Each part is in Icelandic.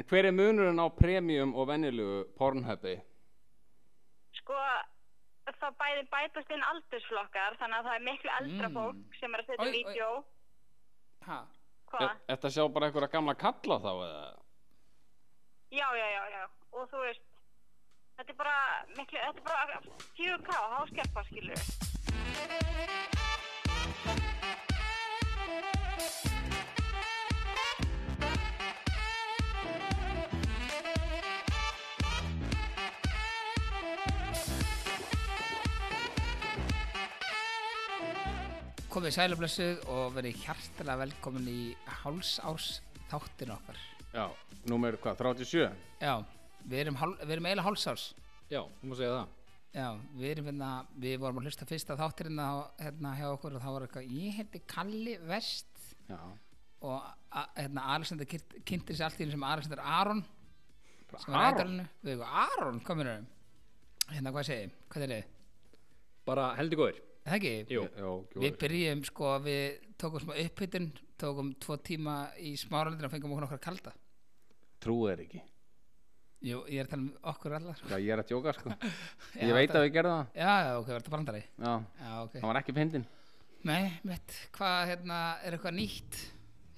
En hver er munurinn á premium og venjulegu pornhubi? sko það bæði bætast inn aldursflokkar þannig að það er miklu eldra Mm. fólk sem er að setja Oj, oj. vídeo Ha? hvað? Er þetta sjá bara einhverja gamla kalla þá eða? já, já, já, já og þú veist þetta er bara miklu, þetta er bara 4K, háskerpa skilur Komið sælublessuð og verið hjartalega velkomin í hálsárs þáttin okkar. Já, númer hvað, 37? Já, við erum, hál, við erum eiginlega hálsárs. Já, þú má segja það. Já, við erum hérna, við vorum að hlusta fyrsta þáttirinn á- hérna hjá okkur og þá var eitthvað, ég heiti Kalli Vest Já, og a- hérna Alexander kyrt- kynnti sér allt í henni sem Alexander Aron sem Aron? var í ædolinu. Við erum Aron, hvað minnur Hérna, hvað segið, hvað er þið? Bara heldur góður Er Það ekki? Jú. Já, Við gjóður. byrjum sko, við tókum smá upphittun, tókum tvo tíma í smáralindinu og fengum okkur okkur kalda. Trúið er ekki. Jú, ég er að tala um okkur allar. Já, ég er að djóka sko. Já, Ég veit þetta- að við gerðum það. Já, já, ok, var þetta brandari? Já, Já, ok. það var ekki fyndin. Nei, mitt, hvað hérna, er eitthvað nýtt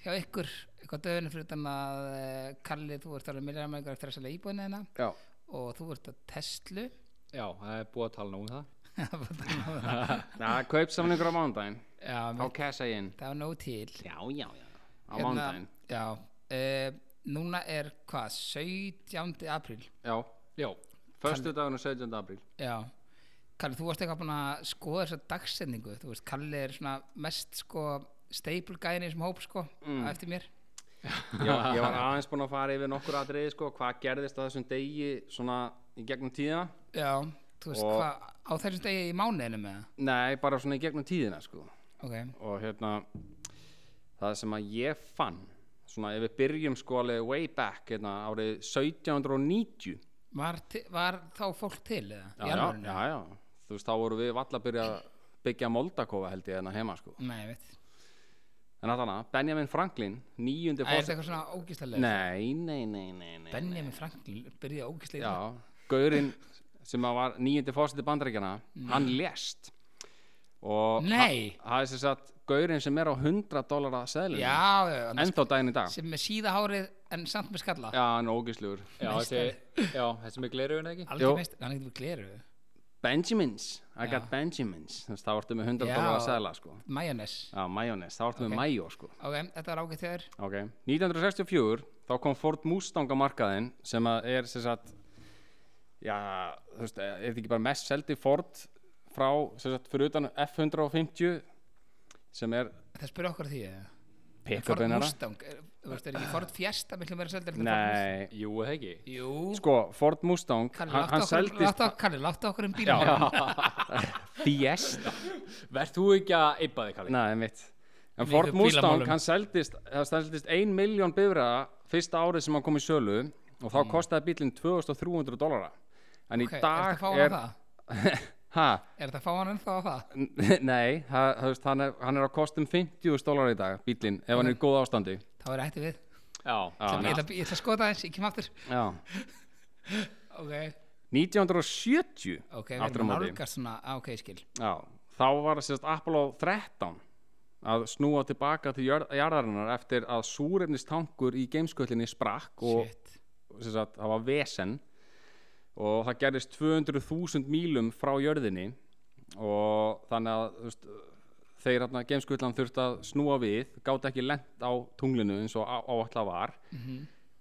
hjá ykkur, eitthvað döðinu fyrir utan að uh, Kalli, þú ert alveg miljarmægur eftir að selja íbúinu hérna Já. og þú ert að Tesla Já, það er búið að tala nú um það Það var bara nóg um það. Það kaup samlingur á mándaginn. Já, Á mitt, kessa ég inn. það var nóg til Hérna, Já, já, já. Á mándaginn. Já, uh, núna er hvað, 17. apríl Já. Já, Föstu dagurinn 17. apríl. Já, Kalli, þú varst eitthvað búin að skoða þessa dagsendingu, þú veist, Kalli er svona mest sko steipulgæðin í þessum hóp sko, mm. eftir mér Já, ég var aðeins búinn að fara yfir nokkur atriði sko, hvað gerðist á þessum degi svona í gegnum tíðina Já, þú veist, Og- hvað, á þessum degi í mánuðinu með það Nei, bara svona í gegnum tíðina sko Ok, og hérna það sem að ég fann svona ef við byrjum sko alveg way back hérna, árið 1790 var, ti- var þá fólk til eða? Í já, alvörunni? já, já, þú veist þá voru við valla að byrja að byggja Moldakofa held ég hérna heima sko Nei, ég veit en allana, Benjamin Franklin, nýjundi Það er fórs eitthvað svona ógíslega Nei, nei, nei, nei, nei Benjamin Franklin byrjaði ógíslega Já, gaurinn sem að var nýjandi fórseti bandaríkjana hann lést og Mm. Nei. ha- það er sem sagt gaurinn sem er á 100 dólara seðlum Já, sko- já, já ennþá daginn í dag sem með síða hárið en samt með skalla Já, hann er ógislegur já þessi, já, þessi með gleruðin ekki Jú. Algjör meist, hann getur við gleru Benjamins, I got Benjamins Þú veist, þá ertu með 100 Já. dólar að segla sko. Mayonnaise Já, majónes, þá ertu Ok. með majó sko. Ok, þetta var ágætt þér Ok, 1964 þá kom Ford Mustang á markaðinn sem að er sem sagt já, þú veist, er þetta ekki bara mest seldi Ford frá, sem sagt, fyrir utan F150 sem er Það spyrir okkur að því eða? Ford pick-upin hana. Mustang er, Þú veist, er ekki Ford Fiesta miklu meira seldur en Ford Mustang? Nei, Jú, eða ekki Jú sko, Ford Mustang Kalli, hann, hann láttu okkur, seldist láttu, Kalli, láttu okkur um bílum Fiesta Verð þú ekki að eipa þig, Kalli? Nei, mitt En Líka Ford Mustang, bílamálum. hann seldist það seldist ein miljón bifræða fyrsta árið sem hann kom í sölu og þá kostaði bílinn 2300 dólara En Mm. Ok, í er þetta að dag fá hann er að það? Ha? Er þetta að fá hann ennþá að það? Nei, það, það, veist, hann, er, hann er á kostum 50 dólara í dag, bílinn, ef hann er í góð ástandi Þá er hætti við Já, Já, Ég ná- ætla ég ætla að skoða þess, ég kem aftur já. Ok 1970 Ok, við aftur á erum að móti. nálgast svona, á, ok, ég skil Já, þá var sérst Apollo 13 að snúa tilbaka til jörð, jarðarinnar eftir að súrefnistankur í gamesköllinni sprakk og Shit, sem sagt, það var vesen og það gerðist 200.000 mílum frá jörðinni og þannig að þú veist, þeir hérna gameskullan þurft að snúa við gátt ekki lent á tunglinu eins og á- áætla var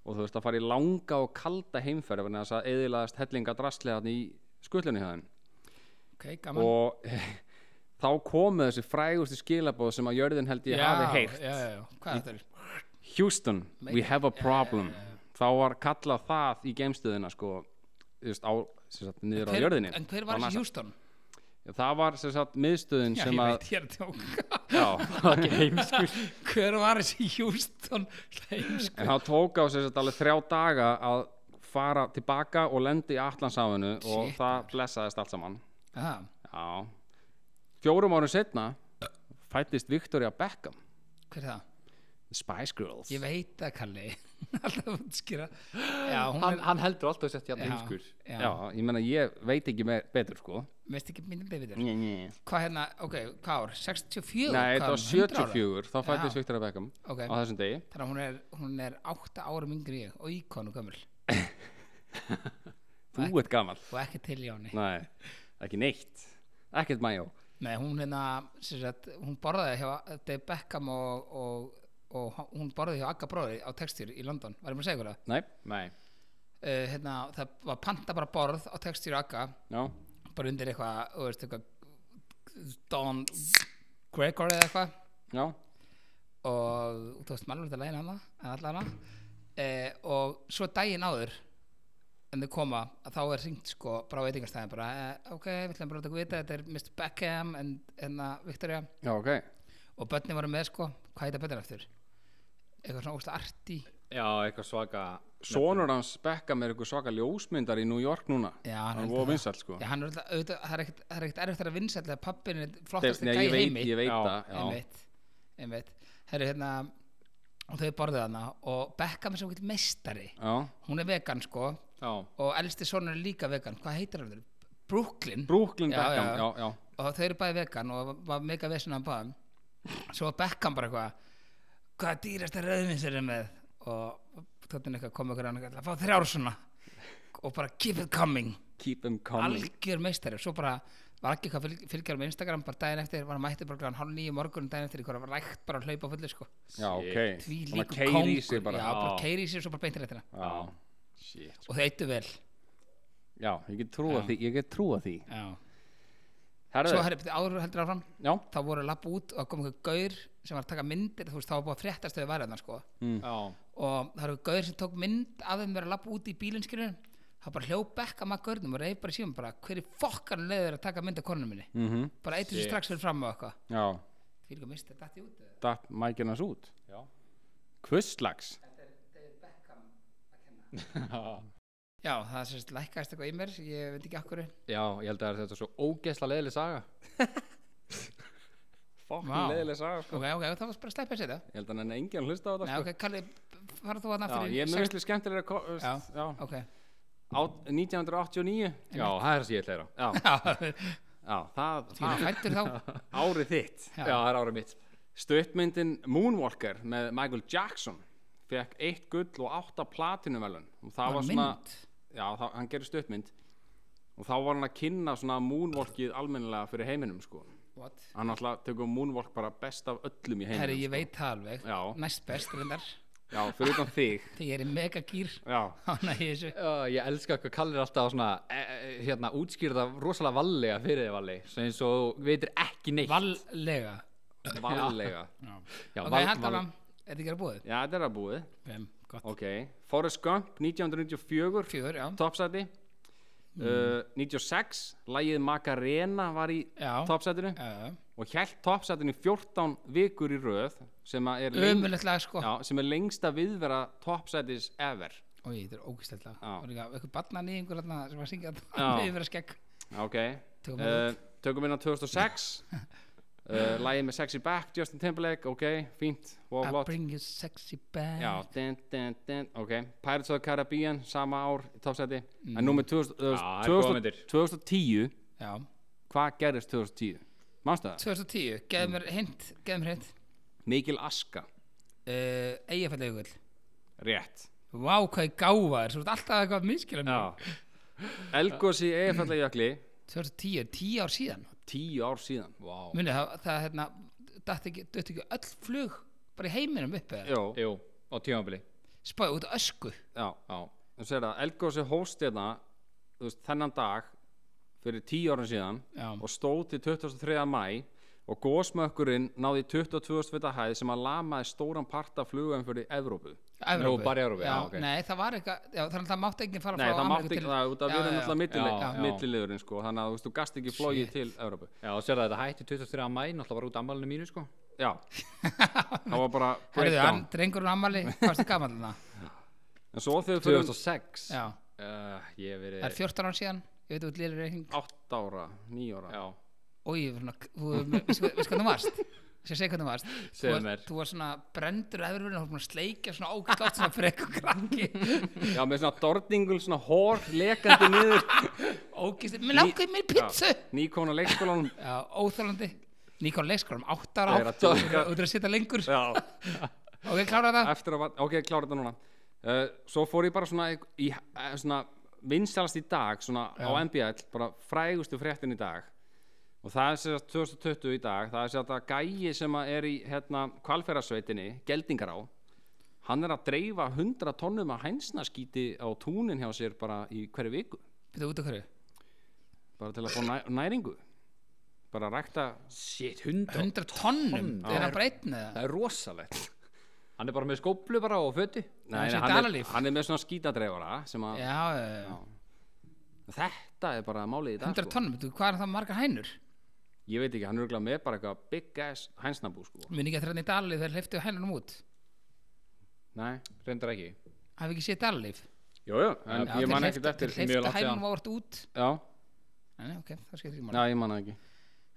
og þú veist að fara í langa og kalda heimferð vegna þess að eðilaðast hellinga drastlega þarna í skullunni hjá þeim ok, gaman og þá komu þessi frægustu skilabóð sem að jörðin held ég hafi heyrt Já, já, já, hvað þetta er Houston, we have a problem þá var kallað það í geimstöðina sko, þú veist, á, sem sagt, niður á Hver- jörðinni En hver var Frá þessi NASA. Houston? það var sem sagt miðstöðin Já, ég sem að veit, ég er að tjóka já, það er ekki heimskur Hver var þessi Houston? Heimsk en það tók á sem sagt alveg þrjá daga að fara tilbaka og lendi í Atlansafinu og Shit, það blessaðist allt saman Aha, já. fjórum árum setna fættist Victoria Beckham hver er það? Spice Girls Ég veit að Kalli Alltaf útskýra Já, hún hann, er hann heldur alltaf sett hérna Já. heimskur Já, Já, ég meina ég veit ekki me betur sko veist ekki myndum betur Njá, njá. Hvað hérna, ok, hvað ár? 64? Nei, Hvað þetta er var hún, 100 ára? 74 þá Já. fættist Viktor að Beckham Ok. á þessum degi Þannig að hún er, hún er 8 árum yngri en ég og íkonu gömul Þú ert gamall og ekki til í áni Nei, Nei, ekki neitt Ekkert mæjó hún hérna, sem sagt, hún borðaði hjá Dave Beckham og, og, og hún borðaði hjá Agga bróði á textýr í London Var ég mér að segja ykkur það? Nei, Nei, Uh, hérna, það var panta bara borð á textýr og Agga já, bara undir eitthvað, þú veist, eitthvað Don Gregor eða eitthvað já og þú veist maður þetta lægin hana en allar hana e, og svo daginn áður en þau koma að þá er hringt sko bara á veitingastæðin bara e, ok, við ætlum bara að taka vita þetta er Mr. Beckham en hérna Victoria Já, ok og börnin voru með sko, hvað heita börnin eftir eitthvað svona ósla arti já, eitthvað svaka Sonur hans Beckham er eitthvað svaka ljósmyndar í New York núna Já, hann hann heldur var það. vinsall sko Já, hann er alltaf, auðvitað, það er ekkert- það er ekkert erfitt að vinsa alltaf pappin er flottast Nei, ég að gæja veit, heimi ég veit Já, það já. einmitt, einmitt herru hérna og þau borðið hana og Beckham er svo ekkert meistari já, hún er vegan sko Já, og elsti sonur er líka vegan hvað heitir hann? Brooklyn Brooklyn Já, Beckham já, Já, já. já, og þau eru bæði vegan og var mega vesinn á báðum svo var Beckham bara eitthvað hvað dýrasta rauðvins er með og tóttin eitthvað kom eitthvað annað að fá þrjár svona og bara keep it coming keep him coming algjör meistari svo bara var ekki eitthvað fylg- fylgjar með Instagram bara daginn eftir var mætti bara glan hálf nýju morgun daginn eftir eitthvað var rækt bara að hlaupa á fullu sko Já, ok því Svona líku keyrir í kongur sig bara já, bara Já. keiri í sig og svo bara beintir eftir Já, shit og þau eittu vel já, ég get trúa því Ég get trúa því já. Herðu, svo herri, áður heldur áfram já, þá voru lapp út og kom einhver gaur sem var að taka myndir, þú veist, þá var búið að fréttast þau varðina, sko, Já, og það eru gaur sem tók mynd af þeim verið að lappa út í bílinskirinu þá bara hljóp bekka maður gaurnum og reyf bara í síðan bara, hver er fokkan leiður að taka mynd af konunum minni, mhm, bara eitt þessu Shit. strax fyrir fram og eitthvað, já því líka misti þetta í út eða? Datt mækinn hans út já Hvurslags? já, það sérst lækkaðist eitthvað í mér ég veit ekki akkur, Já, ég held að þetta er svo ógeðsla leiðileg saga Fokkin Vá. leiðileg saga sko ok, ok, þá var bara að sleppa þessi þetta Ég held að hann er enginn að hlusta á Nei, þetta sko ok, Kalli, farað þú að Já, náttúrulega ég er mjög veistlega skemmtilega ko- veist, Já. já. ok, Á, 1989 Já, það er það sem ég ætla að gera Já, já, já, það, því það hættur þá árið þitt Já. já það er árið mitt Stuttmyndin Moonwalker með Michael Jackson fekk eitt gull og átta platinumvelun og það Bara var svona mynd? já, það, hann gerir stuttmynd og þá var hann að kynna svona Moonwalkið almennilega fyrir heiminum sko What? hann alltaf tekur Moonwalk bara best af öllum í heiminum herri, ég sko. veit það alveg Já. næst best, reyndar já, fyrir utan þig Þegar ég er í megagýr já, Hanna í þessu Já, ég elska hvað kallir alltaf svona e, e, hérna, útskýrða rosalega vallega fyrir þið valli sem eins og veitir ekki neitt Vallega varlega Já, Ok, val- hægt val- alveg Er þetta ekki að búið? já, þetta er að búið Fem, gott ok, Forrest Gump 1994 Fjör, já topsæti Mm. uh, 96, lægið Macarena var í Já. topsætinu Já, og hjælt topsætinu 14 vikur í röð sem að er, já Ömulegt lag sko já, sem er lengsta viðvera topsætis ever Ói, þetta er ógæslegt lag Já. Það var líka eitthvað barnan í einhver þarna sem var að syngja Já. Það er verið að skegg ok, Tökum Eh, það tökum inn á 2006 uh, lægið með Sexy Back Justin Timberlake, ok, fínt og I flott bring you sexy back Já, din, din, din, ok Pirates of the Caribbean, sama ár í topsæti en Mm. nú með 2000, uh, Já, það eru góðar 2000, myndir. 2010 Já. hvað gerðist 2010? Manstu það? 2010, geðum mér hint Geðum mér hint Mikil Aska uh, Eyjafælla ykkur Rétt Vá, hvað ég gáfa þér Svo er alltaf eitthvað miskila mér Elgos í Eiffellagjökli 2010, tíu ár síðan Tíu ár síðan Vá Muni, það, það hérna Dætti ekki, dætti ekki öll flug Bara í heiminum upp eða Jó, Jú, á tímabili Spáði út af ösku já Já, Þú sér það, Elgos í hóst hérna þú veist, Þennan dag Fyrir tíu árum síðan Já. Og stóð til 23. mæ Og gósmökkurinn náði 22. fyrta hæð Sem að lamaði stóran part af flugum fyrir Evrópu Evrópu. Nú, bara í Evrópu, já, ok. Nei, það var eitthvað, já, þannig að það mátti ekki fara Nei, frá það Ameríku mátti ekki til- það út af við erum alltaf Já, milliliðurinn já. milliliðurinn, sko, þannig að þú veist, þú gast ekki flogið til Evrópu já og sér það þetta hætti 23. mæ náttúrulega bara út ammælinu mínu sko Já, það var bara Herðu, hann, breakdown drengurinn Amali, hvað er gamall hana? En svo þegar fyrir 2006 Já, uh, Ég hef það er verið 14 ár síðan Ég veit út lýri reyning 8 ára, 9 ára Já, Ói, veistu hvað þú varst? sem segja hvernig varst Þú Segðu varst- mér. þú var svona brendur eða verið að sleikja svona ógæst átt svona frekk og krakki Já, með svona dorningul, svona hór, lekandi niður ógæst, mér langar mér pizzu Nýkona leikskólanum já, óþálandi Nikon leikskólum, átt ára Þeir að átt og dúkka. þú ert að sitja lengur Já, ok, klára það eftir að, va- ok, klára þetta núna uh, Svo fór ég bara svona í, í eh, svona vinsalast í dag svona á MBL, bara frægustu fréttin í dag og það er sérst 2020 í dag, það er sérst að gæi sem að er í hérna kvalfærarsveitinni geldingar á hann er að dreifa 100 tonnum af hænsnaskíti á túnin hjá sér bara í hverju viku byrðu út af hverju, bara til að fá næ, næringu bara að rækta Shit, hundra 100 tonnum Tonn, er já. hann bara einn eða Það er rosalegt Hann er bara með skóplu bara og föti Nei, nei, sé hann, er, dalalíf. hann er með svona skítadreifara sem að já, já, já. þetta er bara málið í dag 100 sko. tonnum, þú, hvað er það margar hænur ég veit ekki, hann er örugglega með bara eitthvað big ass hænsnabú sko minn ekki að þræðin í dalalíf þegar hleyftu hænunum út nei, Reyndar ekki hafi ekki séð dalalíf jú, jú, en Já, ég þeir man hleyptu- ekkert eftir þeir mjög hleyftu langt síðan. hænunum ávart út já, Nei, ok, það skiptir ekki já, máli ég man það ekki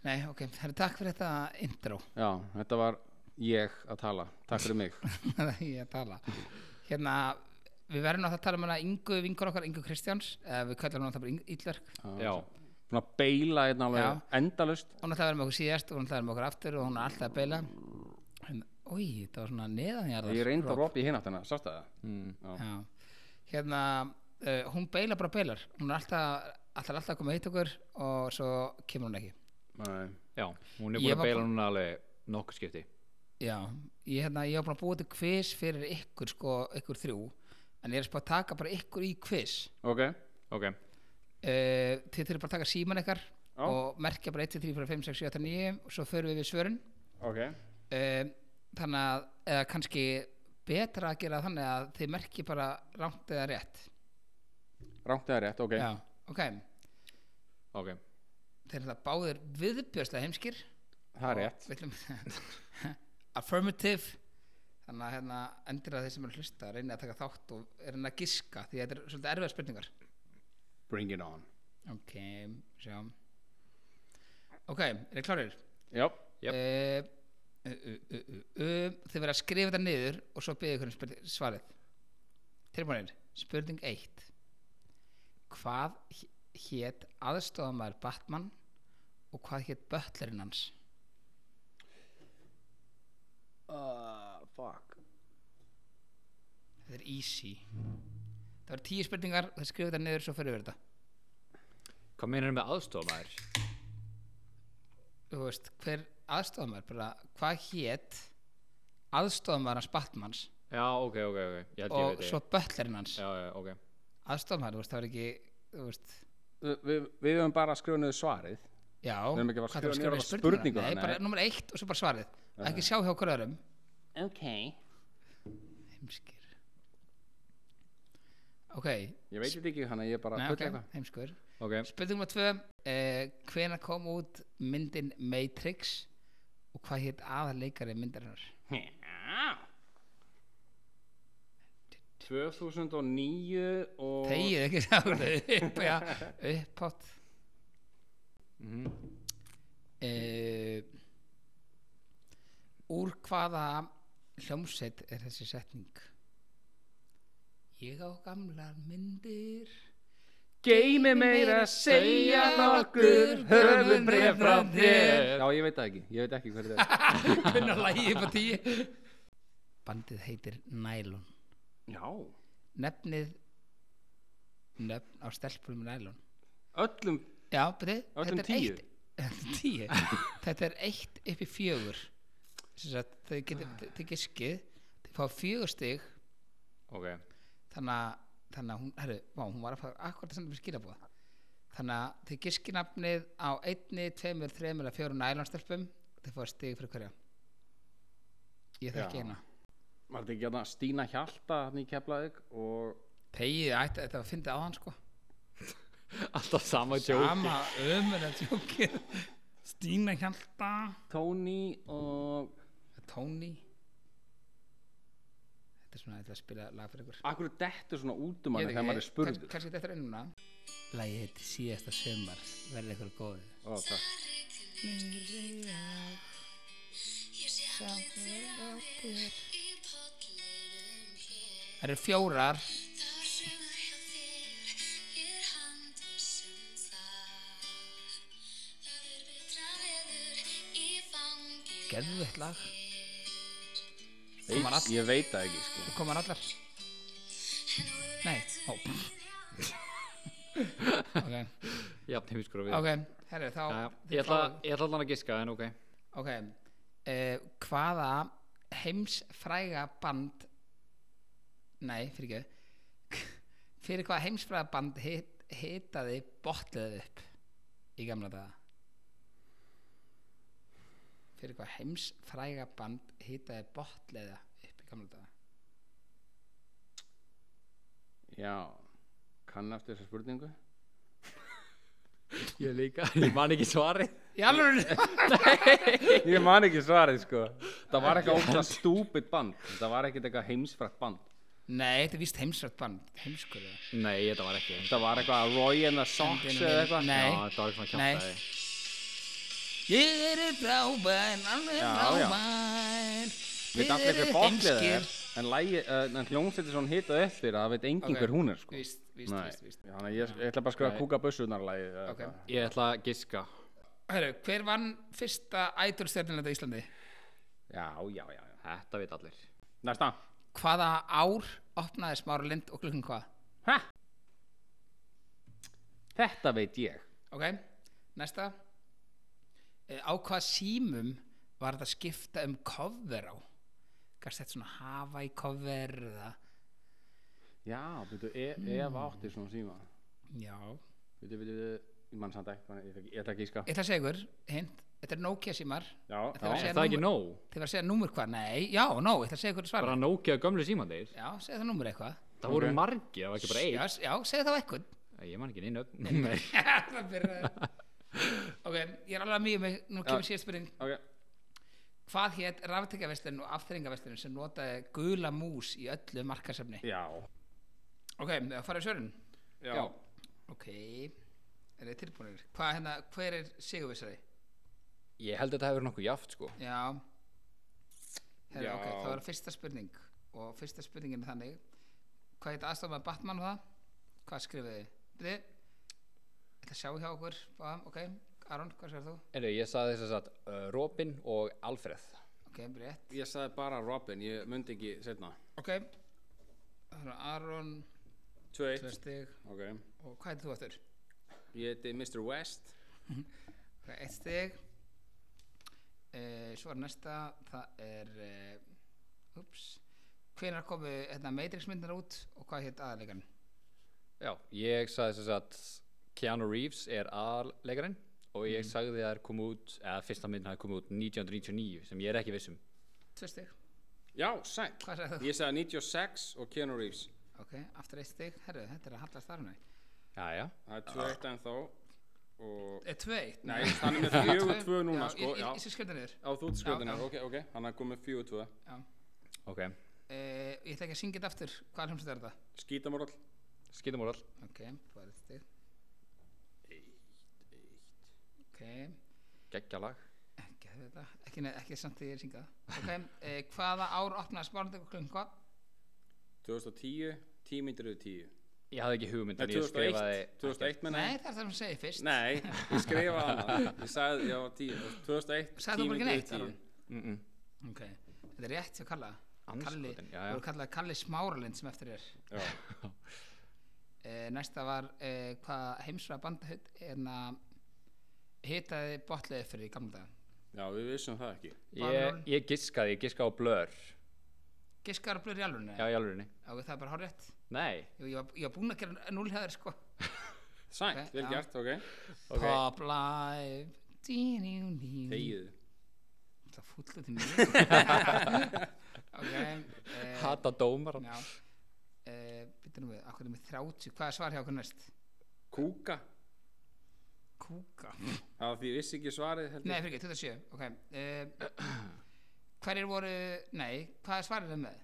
Nei, ok, það er takk fyrir þetta intro já, þetta var ég að tala takk fyrir mig ég að tala Hérna, við verðum náttúrulega að tala um hana Ingu vingur okkar, Ingu Kristjáns eh, Við kallum hann það bara Íllverk já, svona beila hérna Já. alveg endalust Hún ætlaði að vera með okkur síðast og hún ætlaði að vera með okkur aftur og hún er alltaf að beila En, Új, það var Mm. svona neðanjarðar ég reyndi að ropa í hináttina, sástu það Já, hérna uh, Hún beila bara beilar Hún er alltaf, alltaf, alltaf að koma eitt okkur og svo kemur hún ekki Nei. Já, hún er Ég búin var að beila bara- núna alveg nokkuð skipti Já, ég, hérna, ég var búin að búið til quiz fyrir ykkur, sko, ykkur þrjú En ég er að spá að taka bara ykkur í quiz ok, Ok, uh, þið þurfum bara að taka síman ykkar Já. og merkja bara 1, 2, 3, 4, 5, 6, 7, 8, 9 og svo förum við við svörun ok uh, þannig að eða kannski betra að gera þannig að þið merkja bara rangt eða rétt rámt eða rétt, ok Já, ok, ok þeir eru það báðir viðbjörslega heimskir það er rétt Við ætlum- affirmative þannig að hérna, endur að þeir sem eru að hlusta reyna að taka þátt og reyna að giska því að þetta er svolítið erfiða spurningar bring it on ok, sjáum ok, er þið klárir? já, Yep. yep. uh, uh, uh, uh, uh, Þið verða að skrifa þetta niður og svo byrja ykkur um spurning- svarið Tilbúinir, spurning 1 Hvað hétt aðstofamæður Batman og hvað hétt bötlerinn hans? uh, fuck Þetta er easy Það verða tíu spurningar, þið skrifa þetta niður svo fyrir við þetta Hvað meinar með aðstofamæður? Þú veist, hver aðstofamæður bara, hvað hétt aðstofamæður hans Batmans Já, ok, ok, ok Ég held ég og veit svo svo... bötlerinn hans Já, já, ok aðstofamæður, þú veist, það var ekki þú veist við, við höfum bara skrifað niður svarið Já, Við erum ekki að fara að hvað þarf skrifa niður spurningar? spurninguna, Nei, nei. bara nummer eitt og svo bara svarið Ekki sjá hjá okkur öðrum ok Heimskir Ok, Ég veit þetta ekki, þannig að ég bara nei, full ok, eitthvað. heimskur Ok, Spurning nummer tvö eh, Hvena kom út myndin Matrix og hvað hétt aðleikari myndarinnar? Já. 2009 og... Þegið ekki sá upp, ja, upphátt eh, Úr hvaða hljómsveit er þessi setning? Ég á gamlar myndir Geimi meira að segja nokkur höfum bref frá þér. Já, ég veit það ekki. Ég veit ekki hver þetta er. Hvernig að lægi upp á tíu Bandið heitir Nælon Já. Nefnið Nöfn á stelpunum Nælon Öllum... Já, beti, Öllum þetta er tíu? eitt, Öllum tíu Þetta er eitt upp í fjögur Þess að þau Ah. getur þau giskið Þau fá fjögur stig ok Þannig að, þannig að hún, herru, vá, hún var að fara akkurat að senda mér skilabúða Þannig að þau giskið nafnið á einni, tveimur, þreimur eða fjórum nælonstelpum Þau fá stig fyrir hverja Ég þekki Já. hérna Var þetta ekki hérna Stína Hjalta hann í Keflavík og... Þegið, ætti- þetta var fyndið á hann sko Alltaf sama tjóki Sama ömur að tjókið Stína Hjalta Tony og... Tony Þetta er svona þetta er að spila lag fyrir ykkur Akkur dettur svona út um hann Ég veit þegar maður ekki, er spurður. kannski- Kannski þetta er ennuna Lagið heiti síðasta sömar Verði ykkur góð Ó, takk. Ég Það eru fjórar Geðvett lag Komar Veit, all- ég veit það ekki sko. Komar allar Nei, ó Ok, Jafn heimskur og við ok, herri þá Já, já. Ég ætla ég ætla allan að giska en ok Ok, uh, hvaða heimsfræga band Nei, fyrir ekki Fyrir hvaða heimsfræga band hit, hitaði botlaðið upp í gamla daga Fyrir hvaða heimsfræga band hitaði botlaðið upp í gamla daga já, kann eftir þessa spurningu Ég líka Ég man ekki svari Í alveg ég man ekki svarið sko. það var eitthvað ótrúlega stúpid band það var ekkert eitthvað heimsfrætt band Nei, þetta er víst heimsfrægt band Heimskur eða Nei, þetta var ekki það var eitthvað Roy and the Socks eða eitthvað Nei. Já, þetta var ekki svona Nei. kjátt Ég er frábær, alveg Já, já. frábær við Þið allir eruð hver bóklið heimskir. er en, lægi, uh, en hljómsveitir svona hitað eftir að það veit engin Ok, hver hún er sko. víst, víst, Nei. víst, víst. Já, þannig að ég, ég ætla bara að skrifa Nei. kúka bussunarlægi Ok. Ég ætla að giska Heru, hver vann fyrsta ædolstjörnuleita í Íslandi? já, já, já, já Þetta veit allir næsta Hvaða ár opnaði Smára Lind og klukkan hvað? ha? þetta veit ég Ok, næsta e, Á hvaða símum var þetta skipta um cover á? Gast þetta svona hafa í cover eða? já, byrju, e, Hmm. Eva átti svona síma Já byrju, byrju, byrju, ég mann samt ekki þannig að ég ætla ekki- ég ætla ekki að skaf Ég ætla að segja ykkur, hint Þetta er Nokia símar já, Þetta var já, sér- Er það ekki nóg? Þið var að segja númur hvað? Nei, já, no, ég ætla að segja ykkur svara Bara Nokia gömlu símandeir Já, segja það númur eitthvað Það voru Ok. margir, það var ekki bara Já, einn s- já, segja það á eitthvað Æ, Ég man ekki neina Nei Það byrjaði Ok, ég er alveg að mjög mig Nú Já. kemur síðan spurning ok Hvað hétt raftekjaverslun og afþrengaverslun sem notaði gula mús í öllu markasöfni? já, Ok, það farið svörun. já, Ok, er þið tilbúinir? Hvað hérna, hver er sigurvissari? Ég held að þetta hefur nokkuð jaft sko Já. Herra, Já. ok, það var fyrsta spurning og fyrsta spurningin er þannig. Hvað hétt aðstofað með Batman og það? Hvað skrifið þið? Þið, ég ætla að sjá hjá okkur, báðum, ok. Aron, hvað sér þú? Erðu, ég saði þess að uh, Robin og Alfred Ok, rétt. ég sagði bara Robin, ég myndi ekki setna Ok, það er Aron, tvö 2-1 stig ok, og hvað heitir þú aftur? ég heiti Mr. West Það er eitt stig uh, Svo er næsta Það er uh, Ups Hvenær komu hérna, Matrix myndar út og hvað hétt aðalegan? Já, ég sagði þess að Keanu Reeves er aðleikarinn og ég sagði að það er komið út eða fyrsta myndin hafi komið út 1999 sem ég er ekki um. vissum Tvö stig, já, sæk hvað sagði þú? ég sagði 96 og Keanu Reeves Ok, aftur eitt stig, herru, þetta er að hallast þar henni Jæja, það er 2-1 en þá og e, Tvö eitt Nei, hann er með fjögur tvö núna, já, sko, Ég, já. ég, ég sé skjölda niður á þú ert Já, skjóðunar, já. ok, ok, hann er komið fjögur tvö já. ok, Uh, Ég ætla ekki að syngja þetta aftur Hvað hljómsveit er þetta? skítamorall skýtum úr all Ok, þú er eitt stig Ok, geggjalag ekki þetta Ekki, ne- ekki samt því ég er að syngja það Ok, uh, hvaða ár opnaði spárndag og klunga? 2010, 10 myndir yfir 10 Ég hafði ekki hugmynd Nei, en ég 2001, skrifaði 2001 menna Nei, það er það sem segir fyrst Nei, ég skrifaði hana Ég sagði, já, 10, 2001 Sagði þú bara ekki neitt, Aron? mm -mm. Ok, þetta er rétt hjá Kalla Kalli, Andskotin, þú já, já. voru kallað Kalli Smáralind sem eftir er Já, e, Næsta var e, hvað heimsra band en að hitaði botlaði fyrir í gamla dag já, við vissum það ekki Ég, Valur. ég giskaði, ég giskaði á blör Giskar og blöður í alvörunni Já, í alvörinni Ok, það er bara hár rétt Nei, Jú, ég, var, ég var búinn að gera núlhæður sko Sænt, Ok, vel já. gert, ok ok Pop Live Dí-ní-ní. Þegiðu Það fúll út í mig Ok e, Hata dómar Já e, Býtum við, akkur er með 30 Hvað er svar hjá okkur næst? Kúka, Kúka það var því ég vissi ekki svarið heldur Nei, fyrir ekki, 27, ok uh, Hverjir voru, nei, hvað er svarið um það?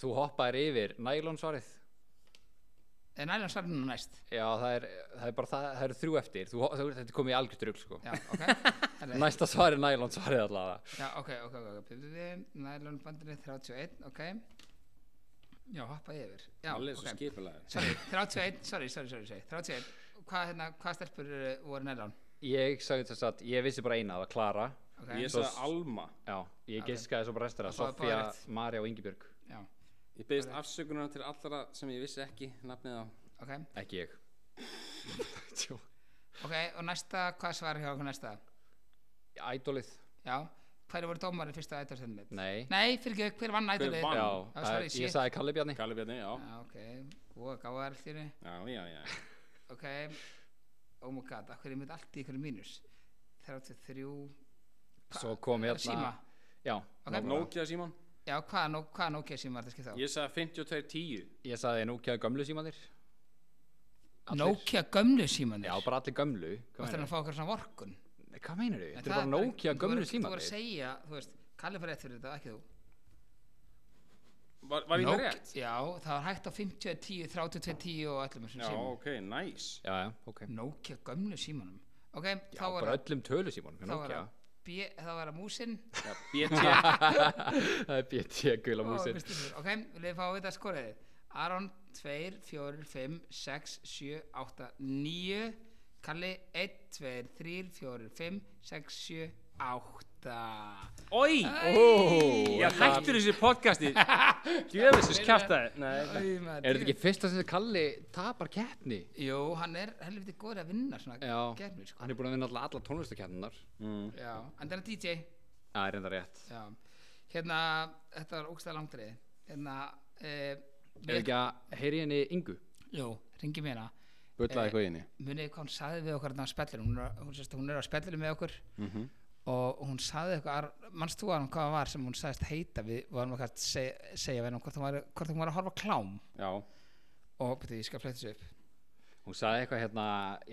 Þú hoppaðir yfir nælonsvarið Eh, Nælon svarið núna næst. Já, það er, það er bara það, það eru þrjú eftir þú, þú, Þetta er komið í algjört rugl sko. Já, ok. Herri, Næsta svar er nælón svarið allavega Já, ok, ok, ok. ok. Bíddu, bíddu. Nælon bandinni 31, ok. Já, hoppa yfir. Já, Allir svo ok. skipulega Sorry, 31, sorry, sorry, sorry, sorry. 31. Hvað, hérna, hvað stelpur eru- voru nælon? Ég sagði þess að ég vissi bara eina, það var Klara Ok, Ég sagði Alma Já, ég Ok. giskaði svo bara restina Og svo er Sofía, bara rétt. Marja og Ingibjörg já, Ég beðist afsökunar til allra sem ég vissi ekki nafnið á ok. Ekki ég Tjó. Ok, og næsta, hvað svarið hjá okkur næsta? Ædolið Já, hverju voru dómarið fyrsta ætlarstendum mitt? Nei, Nei, fyrir ekki, hver vann ætlarið? vann? Já, Já, það sorry, er, shit. ég sagði Kalli Bjarni Kalli Bjarni, já Já, ok, og gáða allir Já, já, já ok oh my god, akkur er mitt allt í ykkur mínus 33 Svo kom hérna hérna síma. Já, Ok. Nokia Simon já, hvað nó- hvaða Nokia síma er þetta skipta á? Ég sagði 5210 ég sagði Nokia gömlu símanir allir. Nokia gömlu síman Já, bara allir gömlu og Hvað það er meinarðu? að fá okkur svona vorkun Nei, Hvað meinar þau? En Þetta er það bara er- Nokia þú gömlu voru- þú voru símanir að segja, þú veist, Kalli fyrir rétt fyrir þetta, ekki þú Var, var ég það Nokia- rétt? já, það var hægt á 50, 10, 32, 10 og öllum þessum Já, símanum ok, nice Já, já, ok Nokia gömlu símanum ok, Já, þá var bara öllum tölu símanum þá var Nokia að B- þá var að músin Já, BT Það er BT gula músin ok, við fáum við þetta skoraði Aron 2, 4, 5, 6, 7, 8, 9 Kalli 1, 2, 3, 4, 5, 6, 7, 8 Oi, Ó, ég hættur þessi podcasti Djöfisins kjaftaði Nei Er þetta ekki fyrsta sem Kalli tapar keppni? Jú, hann er helviti góður að vinna svona Já. Mm. gefnir sko Hann er búin að vinna alla, alla tónlistakeppnunar Já, en það er DJ Það er enda rétt Já. Hérna, þetta var ógstæða langtrið Hérna, eh, Er mér- ekki að heyri henni Ingu? Jú, ringi mér hérna. hana Bullaði eitthvað Eh. inni munið hvað hún saði við okkur þarna á spellinu hún er, hún, sérst, hún er á spellinu með okkur og hún saði eitthvað mannst þú að hann hvað það var sem hún saðist heita við varum okkar að segja, segja við henni hvort hún, var, hvort hún var að horfa á klám Já, og betur ég skal fletta þessu upp Hún sagði eitthvað hérna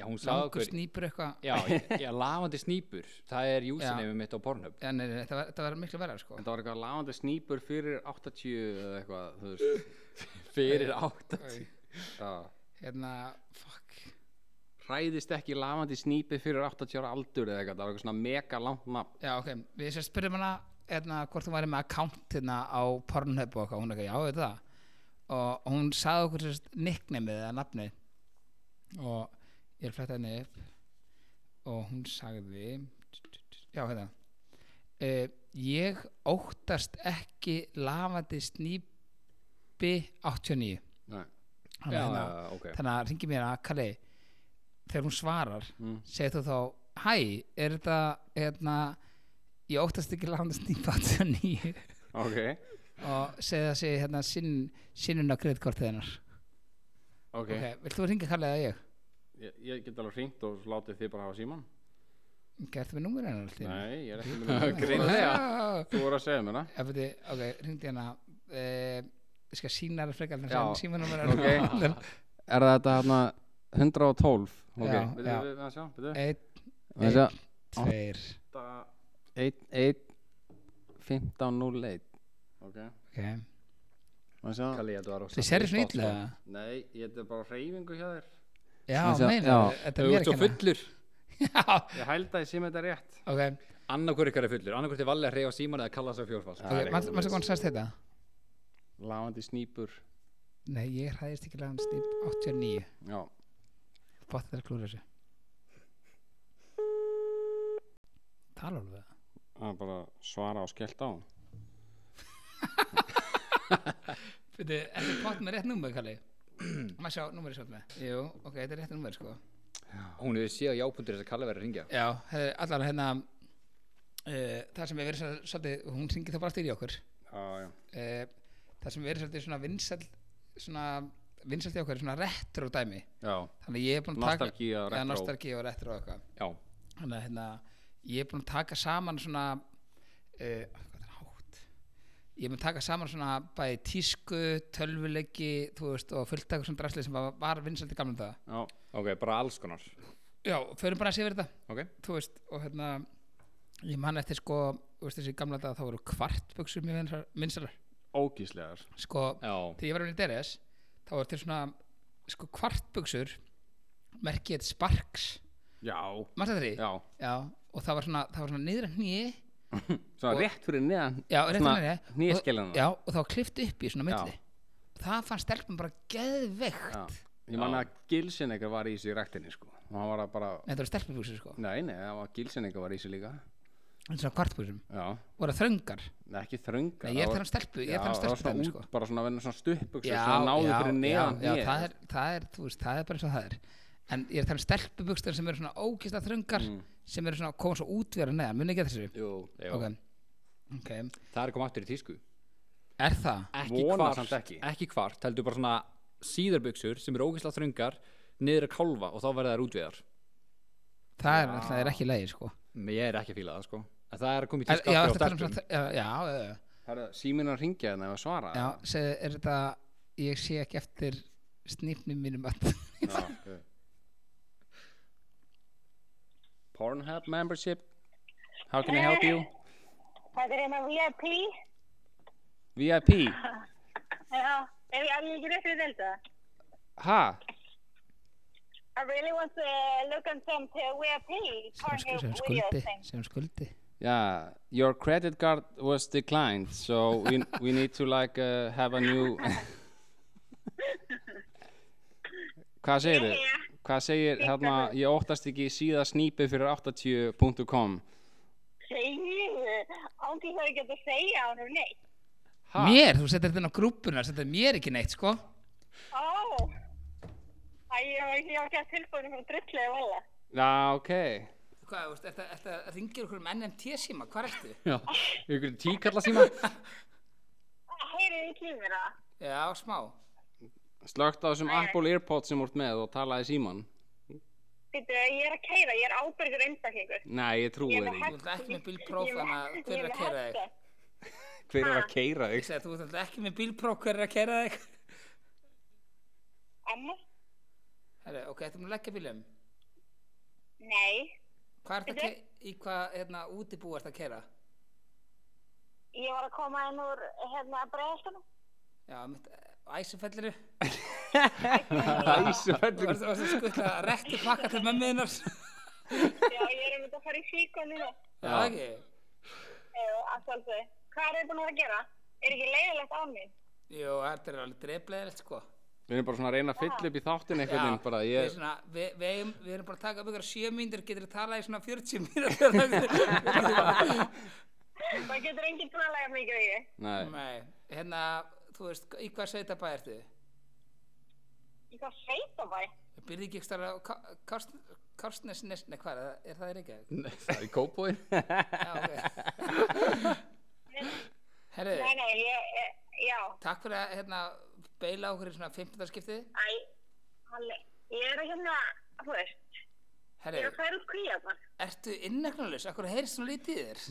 Já, hún sagði langur okkur snýpur eitthvað Já, já, lafandi snýpur Það er username mitt á Pornhub ja, nei, nei, þetta, var, þetta var miklu verðar sko þetta var eitthvað lafandi snýpur fyrir 80 eða eitthvað, þú veist Eh. Fyrir átt Æ, Já. hérna, fuck Hræðist ekki lafandi snýpi fyrir 80 ára aldur eða eitthvað, það var eitthvað svona mega langt nafn já ok, við sem spurðum hana hérna, hvort hún væri með account hérna á Pornhub og eitthvað, hún eitthvað, já veit það og hún saði okkur sérst nicknameið eða nafnið og ég er að fletta henni upp og hún sagði já hérna uh, ég óttast ekki lafandi snýpi 89 Nei. Þannig Já, að hérna, já, ok þannig að ringi mér að Kalli þegar hún svarar segir þú þá hæ, er þetta hérna, ég óttast ekki landa snýpa 89 Ok, og segir það segir hérna sinn, sinnun á kreddkortið hennar ok, okay. vilt þú ringa Kalli eða ég? Ég, ég get alveg hringt og látið þið bara hafa síman Gertu með númur hennar alltaf Nei, ég er ekki með Greinlega Þú voru að segja mér það Eftir, ok, ringdi hérna eh, ég skal sína þér frekar Já. þannig símanúmer Ok. Er það þetta hérna 112? Ok, Já, við já. erum að sjá, við erum einn, að sjá tveir 1, 1, 15, 0, 1 Ok, ok, að sjá Kalli, ég held að það var þið serið svona illa Nei, ég þetta er bara á hreyfingu hjá þér já, Þessi- meina, já. þetta Þú er mér ert svo ekki fullur hana Ég hældi að ég sé með þetta rétt ok, Annarkur ykkar er fullur Annarkur til valið að reyfa síman eða kalla svo fjórfald Ok, mannstu hvað hann sagðist þetta? Lafandi snýpur Nei, ég hræðist ekki lagan snýp 89 Já, Bótt þetta klúra þessu Tala alveg það það er bara svara og skellt á Fyrir, er þetta bótt með rétt númer, Kalli? Maður sjá, númer er svolítið með Jú, ok, þetta er rétt númer, sko Hún hefur séð á jápundur þess að Kalli verið að ringja Já, hefði allan hérna uh, Það sem er verið svo- svolítið Hún syngi þá bara styrir í okkur Já, já uh, Það sem er verið svolítið svona vinsæl Svona vinsælt í okkur, er svona retro dæmi Já, Þannig ég er búin að taka nostalgía, Eða retro nostalgía og retro og eitthvað Já, þannig að hérna, ég er búinn að taka saman svona uh, hvað er hátt ég er búinn að taka saman svona bæði tísku, tölvuleiki þú veist, og fullt eitthvað svona drasli sem var, var vinsældi gamlega það Já, ok, bara alls konar já, förum bara að sé verið þetta Ok, þú veist, og hérna ég man eftir sko, þú veist þessi gamla dag þá voru kvartbuksur mjög vinsælar ógíslegar sko, já þegar ég var að vinna í DRS þá voru til svona sko kvartbuksur merkið Sparks já, Manstu eftir því? já Já, og það var svona, það var svona niður að hnýi svona rétt fyrir neðan Já, rétt svona að hnéskelina. Já, og það var klift upp í svona Já. milli Það fann stelpum bara geðveikt Já. ég man að Gilsenegger var í þessu í ræktinni sko. og hann var að bara Nei, Þetta var stelpubuksur sko nei, nei, það var Gilsenegger var í þessu líka En svona kvartbuksum já, Voru þröngar Nei, ekki þrönga Nei, ég er Það var- að tala um stelpu- ég er að Já, tala um það var svona stelpudæmi, út- sko. bara svona að vinna svona stuppbuxur sem náðu fyrir neðan já, hnéð. já, það, er, það er, þú veist, það er bara eins og það er en ég er að tala um stelpubukstar sem eru svona ókista þröngar Mm. sem eru svona að koma svo út vera neðan, muni ekki eftir þessu Jú, jú. ok, ok, það er komið aftur í tísku er það ekki Vona kvart, samt ekki. ekki kvart heldur bara svona síðarbuxur sem eru ógeðslega þröngar niður að kálfa og þá verða þær útveðar það er alltaf er ekki leiði sko Men ég er ekki að fíla það sko en það er komið í er, tísku já, ertu aftur á að tala um stelpum svona já, já, já, já, Það er síminn að ringja þannig að svara já segi, er þetta, ég sé ekki eftir snýpnum mínum að Já, ok. Pornhub membership How can I help you? Þetta er hérna VIP. VIP Já, ef ég er ekki rétt við þetta. Ha? I really want to look on some uh, VIP sem porno sku- sem video skuldi, thing. sem skuldi Yeah, your credit card was declined so we, we need to like uh, have a new Hvað segir þið? Hvað segir hérna, ég óttast ekki síða snýpi fyrir 80.com Segir, ángi það ekki að segja á honum neitt. Ha? mér, þú setur þetta inn á grúpuna setur mér ekki neitt sko Ó, Æ, ég var ekki- ég var ekki að um tilbúinu fyrir drullið að vala. Já, ok hvað, þú veist, þetta ringir okkur um NMT síma, hvað ertu? Já, ykkur tíkalla síma Heyrið þið ekki í mér það? já, smá Slögt á þessum Apple Earpods sem úr með og talaði síman Býttu, ég er að keira, ég er ábyrgur einstaklingur. Nei, ég trúi Ég þér er með ekki hest- ert ekki með bílpróf, ég er með- þannig að hver ég með er að keyra þig? hesta. Hver hérna. er að keira Ég þig? segi að þú ert alltaf ekki með bílpróf hver er að kæra þig Amma? Herru, ok, þetta mér leggja bílum Nei, Hvað ert að Bíddu? kæra, í hvað, hérna, útibú ert að kæra? ég var að koma inn úr hérna bregðastunum. Já, mitt, eh, æsufelliru Þú Æsufellur ert þú ert að skutla rekti pakka til mömmuðinnar Já, ég er um að fara í síkon núna. Já, ekki Alltaf, hvað er þið búin að vera að gera? Er ekki leiðilegt á mig? Jú, þetta er alveg dreflegilegt, sko Við erum bara svona að reyna að fylla upp í þáttin einhvern veginn bara við, ég, svona, við, við, eigum, við erum bara að taka upp ykkur sjö mínútur getur þú talað í svona 40 mínútur Það getur enginn búin að lega mikið í ég. Nei, Nei, hérna, þú veist, í hvað sveitabæ ertu? Ég þarf sveita bæ. Byrði ekki ekki stara á Ká- Kársn- Kársnesnes, nei hvað, er það- er það í Reykjavík? Nei, Það er í kópóin Já, ok Nei, Herru, nei, ég, ég, já, takk fyrir að hérna, beila okkur í svona 15. skiptið æ, halli, ég er hérna, þú veist, ég er Herru, að færa út kvíða bara. ertu inneknulegs? Akkur heyrst svona lítið í þér?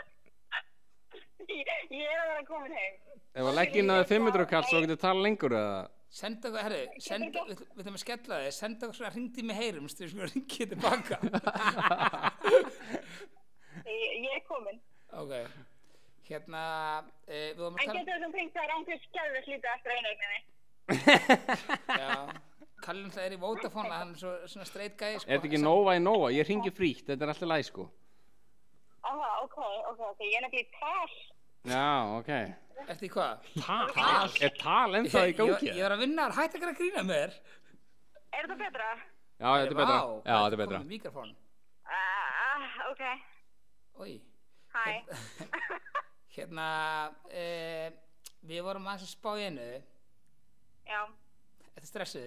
Ég ég er að vera komin heim. ef að leggja inn að 500 kall svo getur tala lengur eða Senda okkur, herru, senda, við við þurfum að skella þig Senda okkur svona hringdi með heyrum Þú veist, við ringið tilbaka Ég, ég er komin. Ok Hérna, e, við vorum að En tala getur þessum fengt það rángur skjálfið slítið eftir einu eigninni. Já, Kallin það er í Vodafone að Hann er svo, svona straight guy sko. Er þetta ekki Nova í Nova? Ég ringi frítt, þetta er alltaf læg sko Aha, ok, ok, ok, ég er nefnilega í tal. Já, ok Ertu í hvað? Tal? Er tal ennþá í gangi? Ég, ég var að vinna, hætti ekki að grína með þér Er Mm. það betra? Já, þetta er betra Vá, Já, þetta er betra. komið Mikrofón Ah, ok, Ói hæ. Hérna, e, við vorum aðeins að spá í einu, Já, þetta er stressuð,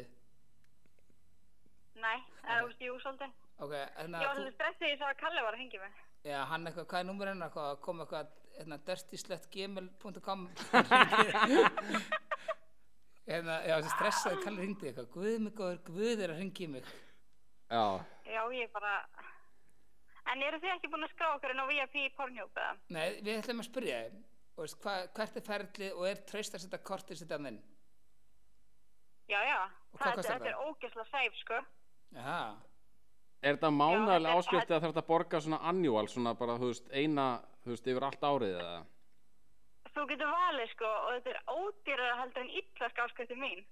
nei, það er úr stíu svolítið. ok, hérna, Ég var þú, svolítið stressið ég sá að Kalle var að hengja mig. já, hann eitthvað, hvað er númur hennar, hvað, kom eitthvað, hérna, dirtyslettgmail.com, hérna, já, þessi stressaði Kalli hringdi eitthvað, guð mig góður, guð er að hringi mig, Já, Já, ég bara... En eru þið ekki búin að skrá okkur inn á VIP Pornhub eða? nei, við ætlum að spyrja þið, og veist, hva, hvert er ferli og er traust að setja kortið sitt að minn, Já, já. Og hvað Það, kostar þetta þetta er ógeðslega sæf, sko. já, er þetta mánaðalega Já, þetta- áskjöld eða þarf þetta að borga svona annual svona bara, þú veist, eina, þú veist, yfir allt árið eða? Þú getur valið, sko, og þetta er ódýrara heldur en illa skásköttu mín.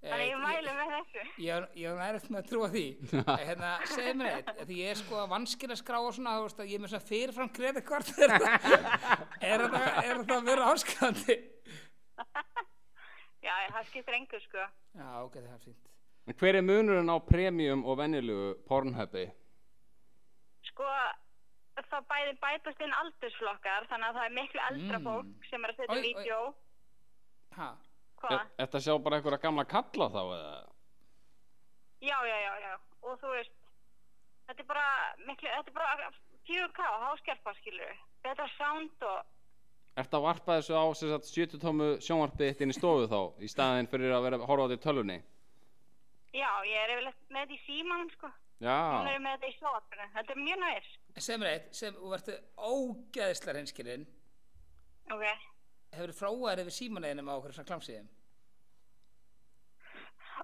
Þannig ég mæli með þessu. eh, Ég ég er erfitt með að trúa því Eh, hérna, segðu mér eitt, því ég er sko vanskil að skráa svona, þú veist að ég er með svona fyrirfram kreditkort er, er, það, er það að vera áskandi Já, það skiptir engu, sko. Já, ok, það er fínt En hver er munurinn á premium og venjulegu pornhubi? Sko, það bæði bætast inn aldursflokkar, þannig að það er miklu eldra Mm. fólk sem er að Oj, setja oj. vídeo. Ha, Hvað? Er þetta sjá bara einhverja gamla kalla þá eða? Já, já, já, já. Og þú veist, þetta er bara miklu, þetta er bara 4K, háskerpa, skilur. Betra sound og, Er þetta að varpa þessu á sem sagt 70 tómu sjónvarpið þitt inn í stofu þá í staðin fyrir að vera að horfa á því tölvunni? já, ég er yfirleitt með þetta í símanum, sko. Hún Já, er með þetta í sjóðarpinu. Þetta er mjög nærs. segðu mér eitt, sem, þú ertu ógeðislega reynskilinn Ok. hefur fróaður yfir símaneinum á okkur svona klámsíðum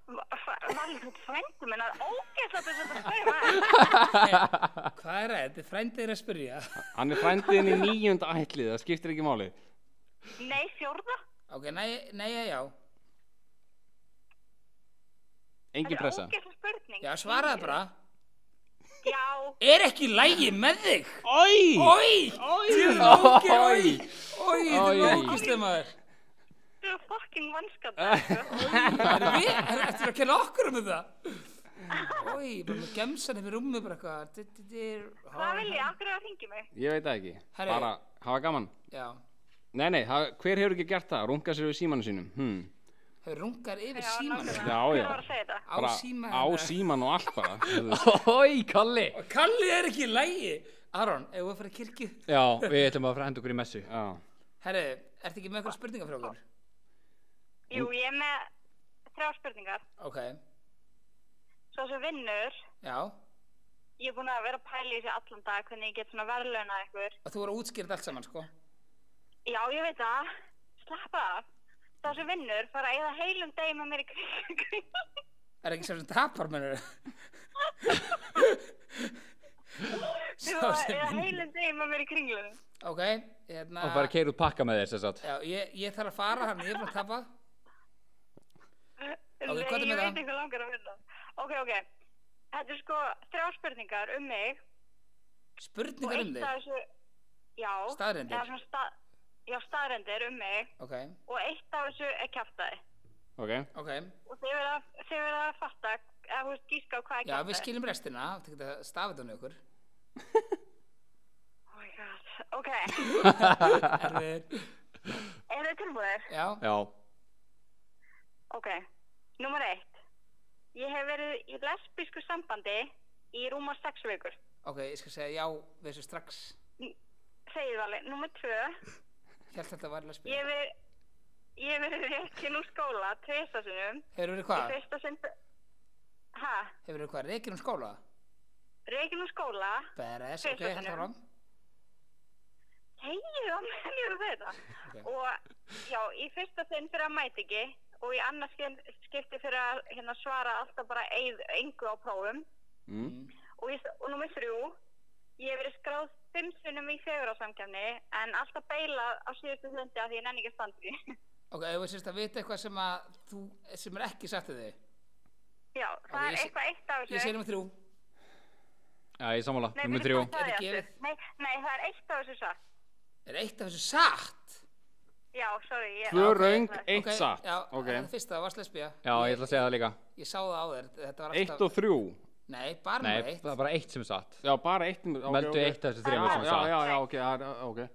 Valur, frændi minn, það er ógeðslega þess að það er. Ah. Hvað er þetta? Frændið er að spyrja hann er frændiðin í nýjunda ætlið, það skiptir ekki máli. Nei, fjórða. Ok, nei, nei, já, já Engin pressa. Þetta er ógeðslega spurning. Já, svaraði bara Já, Er ekki lægi með þig? Oi! Ói! Ói! Ói! Ói! Ói! Oj. Þetta er ógislega maður Þú er fucking vannskapur, sko. Það er við, það er eftir að kenna okkur um það Ói, bara með gemsan yfir rúmi bara eitthvað Di- di- di- Hvað vil ég? Akkur er það að ringi mig? Ég veit það ekki. Herri. Bara hafa gaman. Já, Nei, nei, það, hver hefur ekki gert það? Runga sér við símanu sínum. Hmm. það rungar yfir Já, símanum nákvæmlega. Já, Hver já. var að segja þetta? Á hérna. Bara símanum Á síman og allt bara. þú veist. Ói, Kalli Og Kalli er ekki í lægi Aron, ef við að fara í kirkju Já, við ætlum að fara að henda okkur í messu Já. Herri, ertu ekki með eitthvað spurningar frá okkur? Jú, ég er með þrjá spurningar. Ok, Svo sem vinnur, já ég er búin að vera að pæla í þessu allan dag hvernig ég get svona verðlauna ykkur. Og þú voru að útskýra þetta allt saman, sko Já, ég veit það. Slappa af. Sá sem vinnur fara að eða heilum degi með mér í kring. Er ekki sem sem tapar, mennur Þú Sá að sem eða vinnur heilum degi með mér í kringlunum. Ok, hérna Og fara að keira út pakka með þér sem sagt Já, ég, ég þarf að fara hann, ég er búin að tapa Ok, hvað er ég með það? veit eitthvað langar að vinna. Ok, ok. Þetta er sko þrjá spurningar um mig. og Spurningar um eitt af þig þessu, já, Staðreyndir. eða svona sta, já, staðrendir um mig Ok, og eitt af þessu er kjaftaði Ok. ok og þið verða þið verða að fatta eða þú veist gíska á hvað er Já, við kjaftaði skiljum restina, þú getur að stafa þetta um ykkur oh my god, ok, eru Erfir þið tilbúðir? Já, Já ok, nummer eitt ég hef verið í lesbísku sambandi í rúma sex vikur ok, ég skal segja já við þessu strax segið valið, nummer tvö Hjælt þetta að varlega ég spil hef verið ég hef verið rekin úr skóla tvistasunum, Hefur verið í hvað? fyrsta sinn ha, Hefur verið hvað? Rekin um skóla? rekin úr skóla Beres, ok, Tvisvar hægt sinnum. áfram Hegið á meðan ég er að þetta. Ok. Og já, í fyrsta sinn fyrir að mæta ekki og í annars skipti fyrir að hérna, svara alltaf bara eið, engu á prófum. Mm. Og, ég, og nummer þrjú, ég hef verið skráð fimm sinnum í fegur á samkjafni en alltaf beilað á síðustu sundi af því ég nenni ekki að standa í. því. Ok, ef við sérst að vita eitthvað sem að þú, sem er ekki sagt við þig já, það Ok, ég er sé- eitthvað eitt af Ég þessu. segir um þrjú Já, ég sammála, Nei, nummer byrju, þrjú hvað sagði Er ég gefið- aftur? Nei, nei, það er eitt af þessu satt. Er eitt af þessu satt? Já, sorry. ég- Tvö Já, ok, röng, það- eitt Ok, satt. Já, Ok. það er fyrsta, það var lesbía. Já, ég ætla að segja það líka Ég sá það á þér, þetta var alltaf... Eitt og þrjú. Nei, bara Nei, nummer eitt. það er bara eitt sem er satt Já, bara eitt. Okay, Meldu ok. eitt af þessu þremur sem Já, satt. já, já, ok, það er- ok.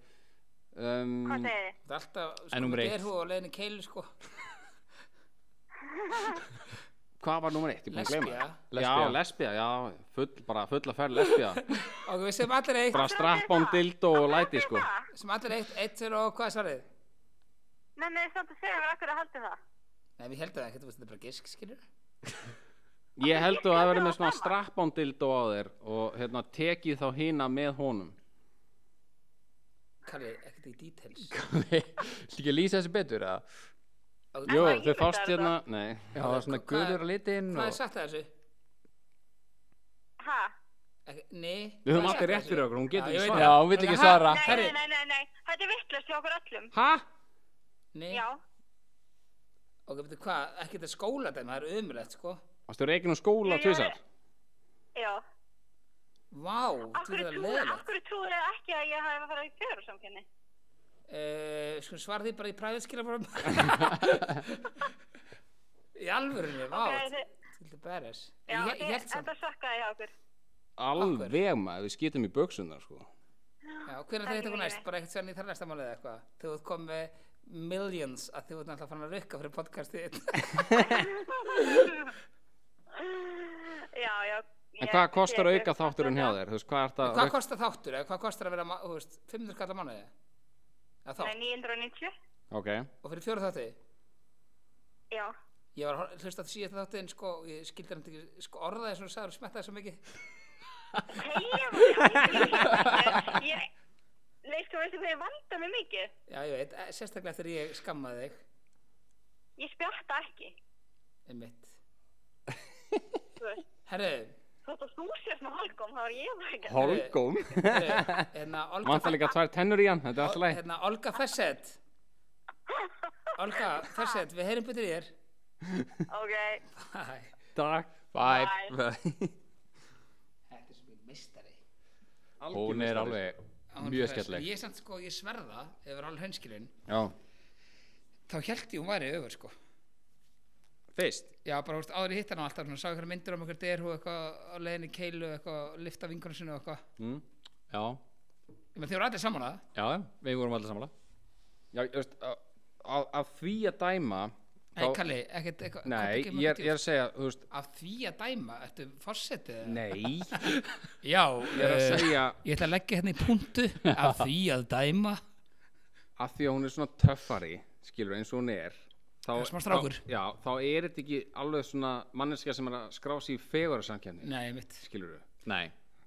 Um, Hvað segið þið? Það er alltaf, sko, En númer með eitt. derhúfu á leiðinni í keilu, sko. hvað var nummer eitt? Ég búin að gleyma. Lesbía. Lesbía. Já, Lesbía. lesbía, já, full, bara full að ferð lesbía. Ok, við segjum allir eitt, bara strappón, dildo og læti, sko. Það? sem allir eitt, eitt fyrir og hvað er svarið? Nei, nei, þið samt að segja mér akkur að haldi það. Nei, við heldum það ekkert, þú veist, þetta er bara gisk, skilur. Ég held að það verið með svona strappón dildo á þér og hérna tekið þá hina með honum. Kalli, ekkert í details. Viltu ekki lýsa þessu betur, eða? Ok, Jó, það þau ímyndar fást þetta? hérna, nei. Já, það er svona Hvað- guður á litinn Hvað er og... sagt að þessu? Ha? Ekki, nei. Við höfum hvað er allir sagt að rétt fyrir þessu? okkur, hún getur Já, ég ekki veit svarað. Já, hún vil ekki Ok, ha, svara Nei, Herri. nei, nei, nei, nei, þetta er vittlust hjá okkur öllum. Hæ? Nei. Já, Ok, ok, veitu hvað, ekki þetta skóladæmi, það er ömulegt sko Varstu reikin á skóla Ég- tvisar? Já. vá, Af þú hverju þetta er trúir- af leðilegt hverju trúir þið ekki að ég hafi farið í fjöru samkynni? uh, sko svara því bara í præðiskilafórum í alvörunni, vá Ok, þið- til þetta beres Já, ég, ég þið- held samt, þetta sökkaði hjá okkur. Alveg maður, við skýtum í böksunar sko. já, Það hvernig það er eitthvað lífið. næst, bara eitthvað sérn í þar næsta málið eða eitthvað þú ert komið millions að þú ert náttúrulega farin að rukka fyrir podcastið þitt. Já, já. En ég- hvað kostar ég- auka þátturinn hjá þér? Þú veist, hvað er það? hvað kostar þáttur, eða hvað kostar að vera ma- þú veist, 500 kallar mánuði eða Nei, þátt, 990. Ok, og fyrir fjóru þátti Já. Ég var að hlusta á síðast þáttinn sko, og ég skildi hann ekki sko, orðaði sem þú sagður og smettaði svo mikið. Heyrðu, ég- ég- Nei, sko, veistu hvað ég vanda mig mikið? Já, ég veit, eh, sérstaklega eftir ég skammaði þig, Ég spjarta ekki. einmitt. Þú veist, Herru, þótt að þú sést með halgum, þá er ég það ekki. holgum herru, hérna Olga, Vantar líka tvær tennur í hann, þetta er alltaf læg hérna, Olga Fessett. Olga Fessett, við heyrum betur í þér. Ok, Hæ, Takk, Bye. þetta er svo mikið mistari. Hún er alveg mjög skemmtileg. Ég er samt sko, ég sverða, ef það er alveg hönskilinn, Já, þá held ég hún væri öfur sko. fyrst Já, bara, þú veist, áður í hittana alltaf, svona, sá eitthvað myndir um eitthvað derhú, eitthvað á leiðinni í keilu, eitthvað, lifta vinkunum sinu og eitthvað. mm. Já, Ég meina, þið voru allir saman að það. já, við vorum allir sammála. Já, ég veist, á- á- af því að dæma Nei, þá- Kalli, ekkert eitthvað Nei, komdu ekki ég með er, ég er að segja, þú veist djús. Af því að dæma, ertu forsetið? eða? Nei, Já, ég er að eh, segja Ég ætla að leggja hérna í punktu Af því að dæma af því að hún er svona töffari skilur eins og hún er þá, Það er smá strákur. þá, Já, þá er þetta ekki alveg svona manneska sem er að skrá sig í fegurra samkjæmni Nei, mitt skilur Nei,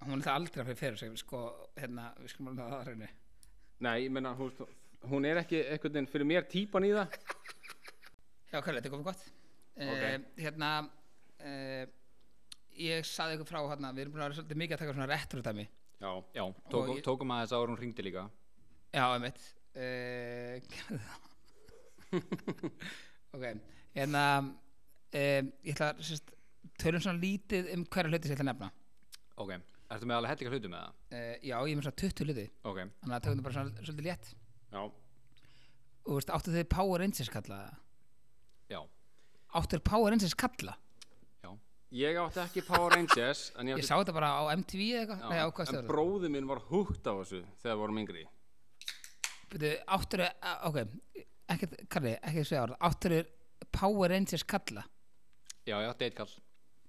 Hún er það aldrei fyrir fyrir sig Sko, hérna, við skulum alveg hafa það á hreinu Nei, ég meina, hún, hún er ekki einhvern veginn fyrir mér típan í það Já, Kalli, þetta er komið gott okay. Hérna uh, Ég saði ykkur frá hérna Við erum búin að vera svolítið mikið að taka svona retro dæmi Já, já, tókum, ég- tókum aðeins ára hún ringdi líka. Já, einmitt uh, gerðu það. Ok, hérna um, Ég ætla að sérst, tölum svona lítið um hverja hluti sem ég ætla að nefna Ok, ertu með alveg hellinga hluti með það? uh, Já, ég er með svona 20 hluti Ok, Þannig að tökum þetta bara svona svolítið létt já, Og þú veist, áttu þau Power Rangers kalla það? já, Áttu þau Power Rangers kalla? já. Ég átti ekki Power Rangers En ég Ég átti sá þetta bara á MTV eða eitthvað Nei, á hvað En stöður það? bróði minn var húgt á þessu þegar við vorum yngri Byrju, áttu þau, a- ok Ekkert, Karli, ekki þessu orð Áttu þau Power Rangers kalla? Já, já, deitkall.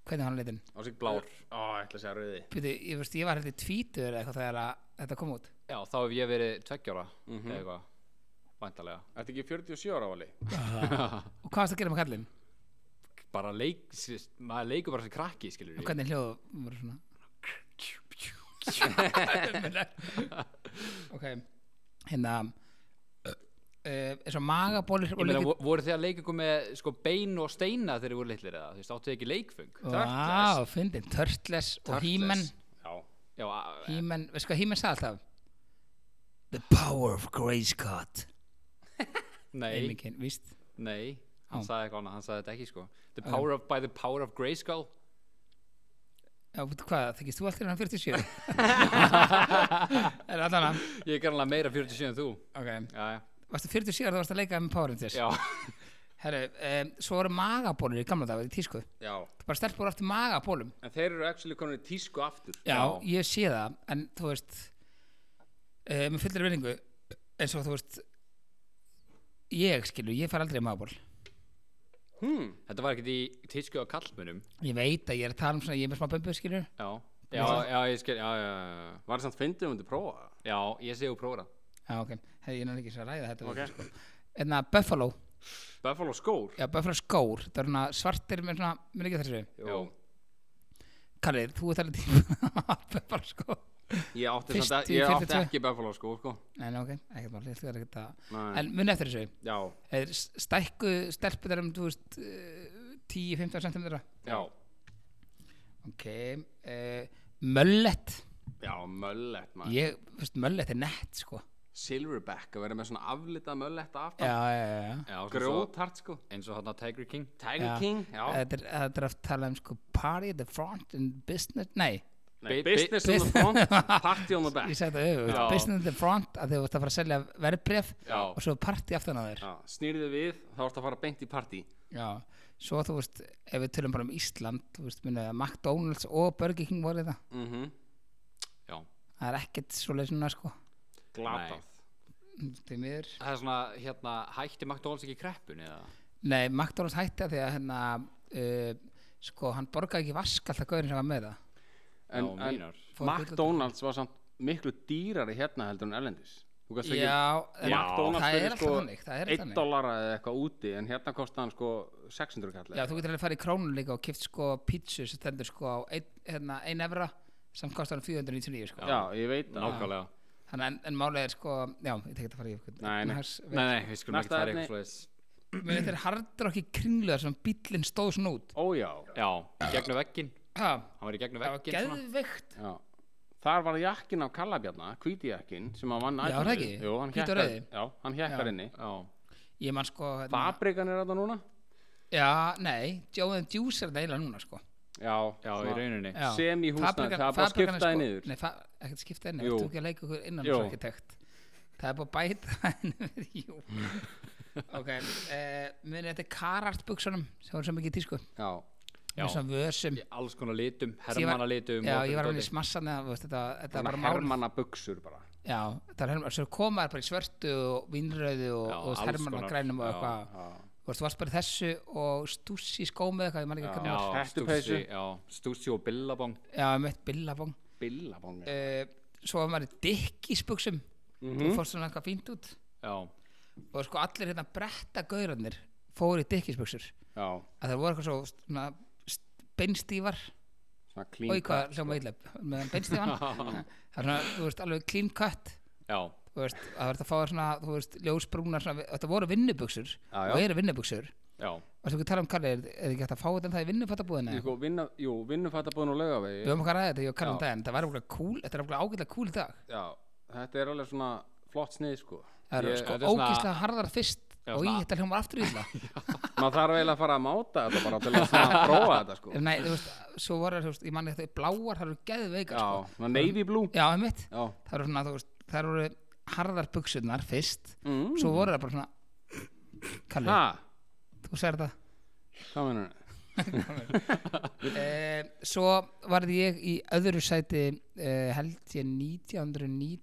Hvernig var hann leitin? á sig blár Ó, ætla að segja rauði Byrju, ég veist, ég var heldur tvítur eða eitthvað þegar að þetta kom út Já, þá hef ég verið tveggjára mm eða eitthvað, væntalega. Þetta ekki 47 ára vali Og hvað varst að gera með kallinn? Bara leik, s- maður leikur bara sem krakki, skilur Og ég. hvernig hljóðu voru svona? ok, hérna Uh, eins og magabólir Ég meina, vo- voru þið að leika ykkur með sko, bein og steina þegar þið voru litlir eða? Þú veist, áttu þið ekki leikfung? Vá, fyndin, Turtles og He-Man Já, Já, a- He-Man, veistu hvað He-Man sagði alltaf? The power of Grayscott nei, Einmikinn, víst nei, hann Á. sagði eitthvað annað, hann sagði þetta ekki, sko. The power of, by the power of Grayskull? Já, veitu hvað, þykist þú alltaf hann 47? er allan að Ég er kannanlega meira 47 en þú. Ok, Já, já, varstu 47 þegar þú varst að leika með Power Rangers? já, Herru, um, svo voru magabólir í gamla dagar í tísku já Bara stelpur aftur magabólum En þeir eru actually komin í tísku aftur Já, ég sé það, en þú veist uh, með fullir vinningu eins og þú veist ég skilu, ég fær aldrei í magaból hmm. þetta var ekkert í tísku á kallmunum. Ég veit að ég er að tala um svona, ég er með smá bömbu skilu Já, já, já, ég skil, já, já, já, já. Var það samt fyndið um þetta prófa það? já, ég sé úr prófra. Já, ok, hefði ég náttúrulega ekki svo að ræða þetta okay. sko. En að Buffalo, Buffalo skór já Buffalo skór Það er svona svartir með svona, mér ekki þessu Jú. Kallir, þú ert alveg tíma Buffalo skór Ég átti, Fyrst samt, að- í ég átti 42. ekki Buffalo skór sko. Nei, nei, ok, ekkert mál, ég ætla ekki að Nei. En muni eftir þessu Já, Þeir Stækku stelpunar um, þú veist, eh, 10-15 cm já, Ok, uh, möllet já, möllet maður Ég, þú veist, möllet er nett, sko Silverback að vera með svona aflitað mölletta já, aftan já, já, já. Já, svona svo- grótart sko eins og hann að Tiger King Tiger Já. King, já Eh, Þetta er, þetta er að tala um sko party at the front and business, nei Nei, Bi- business on the front, party on the ég back sagði það öfugt, Já. business at the front að þau varst að fara að selja verðbref Já. og svo party aftan á þér já, snýrðu við, þá ertu að fara beint í party já, svo þú veist ef við tölum bara um Ísland, þú veist minna, McDonalds og Burger King voru þetta mm Mhm. já, það er ekkert svoleið svona sko glatað Nei. því miður það er svona hérna hætti McDonalds ekki í kreppun eða Nei, McDonalds hætti að því að hérna uh, sko, hann borgaði ekki vask alltaf gaurin sem var með það en, já, en mínar Fór að hluta McDonalds var samt miklu dýrari hérna heldur en Erlendis þú til- kannski ekki Já, en Já, það er fyrir, alltaf sko, þannig það er 1 þannig. dollara eða eitthvað úti en hérna kosti hann sko 600 kall Já, þú getur alveg farið í krónu líka og kift sko pítsu sem stendur sko á ein, hérna, ein evra sem kostar hann 499 sko. já, ég veit það nákvæmlega Þannig en, en málega er sko, já, ég tek þetta að fara í ykkur. Nei, nei. nei, nei, við skulum ekki Næsta fara í efni. eitthvað svoleiðis Mér þetta er hardur okki kringlega sem bíllinn stóð svona út. ójá já, í gegnum veggin Já, hann var í gegnum það var veggin svona geðveikt. já. þar var jakkin á kallabjarna hvítijakkin sem hann vann Já, er það ekki? Jú, hann Hvíti hékkar- og rauði? já, hann Já. hékkar inni já, Ég man sko, hérna, fabrikan er þetta núna já, nei, Joe and Juice er það eiginlega núna sko. já, já, í rauninni Já. sem í húsnæði, Fabrikan- það er bara að fabrikan skipta er það sko- niður Nei, fa- ekkert skipta henni, Jú. þú ekki að leika okkur innan Jú. hans arkitekt Það er bara að bæta henni við, jú Ok, uh, munið þetta er karartbuksunum sem voru svo mikið í tísku já, Já. með svona vösum Í alls konar litum, Ég var- hermannalitum Já, og ég var dóti. alveg í smassan eða, þú veist, þetta, þetta var svona bara mál hermanna buksur bara Já, þetta var hermann, svo komaðar bara í svörtu og vinnröðu og, Já, og þú veist, alls hermann og konar. grænum og Já, eitthvað Þú veist, þú varst bara í þessu og stússi í skóm eða eitthvað, ég man ekki Já. hvernig var já, Hettupeysu. stússi, já, stússi og billabong Já, mitt billabong billabong uh, Svo var maður í dikkísbuksum Mhm. mm Þú fórst svona eitthvað fínt út já, og sko allir hérna bretta gaurarnir fóru í dikkisbuksur já, að það voru eitthvað svo svona, st- beinstífar svona og clean sko. í hvað hljóma eitthvað meðan beinstífan það er svona, þú veist, alveg clean cut já, þú veist, að verður að fá þér svona, þú veist, ljósbrúnar svona, þetta voru vinnubuksur Já, já. og eru vinnubuksur já og svo ekki tala um Kalli, er, er ekki hægt að fá þetta en það í vinnufættabúðinu Jú, vinna, jú, vinnufættabúðin og við laugavegi höfum okkar að ræða þetta, ég og Kalli um Já. daginn það var okkur cool, þetta er okkur ágætlega cool í dag Já, þetta er alveg svona flott snið sko það Ég- eru sko þetta er svona- ógæslega harðara fyrst Já, og í svona- þetta hljóma aftur í þetta Maður þarf eiginlega að fara að máta þetta bara til að svona prófa þetta sko Nei, þú veist, svo voru, þú veist, ég manni þetta bláar, það eru geðveikar, Já, sko. svona navy blue Já, einmitt. Já, það eru svona, þú veist, það eru harðar buksurnar fyrst Mm. svo voru það bara svona Kalli, ha, þú sér það hvað mennur þetta? e, svo varði ég í öðru sæti e, held ég 1997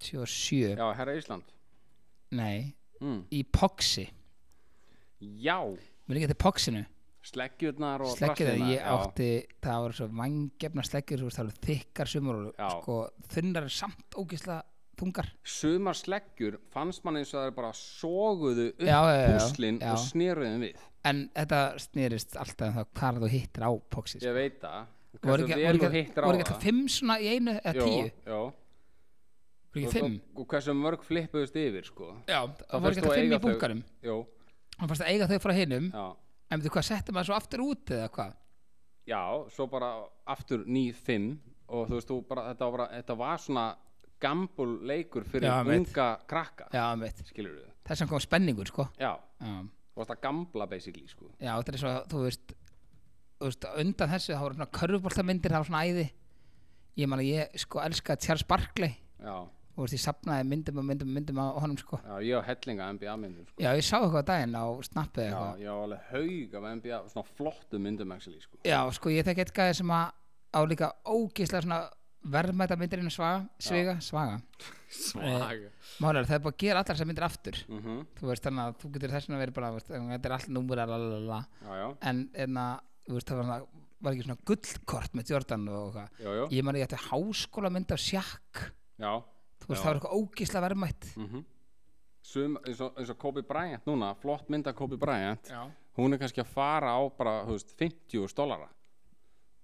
Já, herra Ísland nei, mm. í Poxi Já, mér ekki þetta Poxinu sleggjurnar og sleggjur það, draslið ég þarna, já. átti það voru svo vangjefna sleggjur, þú veist, það voru þykkar sumur og Já. sko, þunnar er samt ógislega þungar Sumar sleggjur fannst mann eins og það er bara soguðu upp Já, já, já, púslin já. og sneruðum við en þetta snýrist alltaf um það hvað þú hittir á Poxi Ég veit það voru Hversu ekki, vel voru þú ekki, hittir á voru ekki það. alltaf fimm svona í einu eða tíu, Jú, jú voru ekki fimm og, og hversu mörg flippuðust yfir sko já, það voru fyrst ekki þú alltaf að fimm eiga í þau. bunkarum Jó, hann fannst að eiga þau frá hinum já, en veitu hvað, setti maður svo aftur út eða hvað já, svo bara aftur 9-5 og þú veist, þú bara, þetta, var bara, þetta var svona gambul leikur fyrir Já, ég veit. unga krakka, já, veit, skilur við þess að kom spenningur sko Já, já, þú varst að gambla basically sko já þetta er svo, þú veist þú veist, undan þessu, þá voru svona körfuboltamyndir, það var svona æði ég man að ég sko elskaði Charles Barkley Já, og veist, ég sapnaði myndum og myndum og myndum á honum sko já ég á hellinga NBA myndum sko já, ég sá eitthvað á daginn á snappið Já, eitthvað ég á alveg haug af NBA, svona flottum myndum actually sko Já, sko, ég þekki eitt gæði sem að á líka ógeðslega svona verðmæta myndir innan svaga, sviga, svaga. svaga Málar, það er bara að gera allar þessar myndir aftur. mm Þú veist, þannig að þú getur þess vegna verið bara, þú veist, þetta er allt númur, lalalala. Já, já, En, en að, þú veist, það var, svona, var ekki svona gullkort með Jordan og eitthvað. já, já, Ég man, ég ætti háskóla mynd af Shaq. já Þú veist, Já. það var eitthvað ógeðslega verðmætt. mm Sum, eins, og, eins og Kobe Bryant núna, flott mynd af Kobe Bryant Já. hún er kannski að fara á bara, þú veist, 50 dollara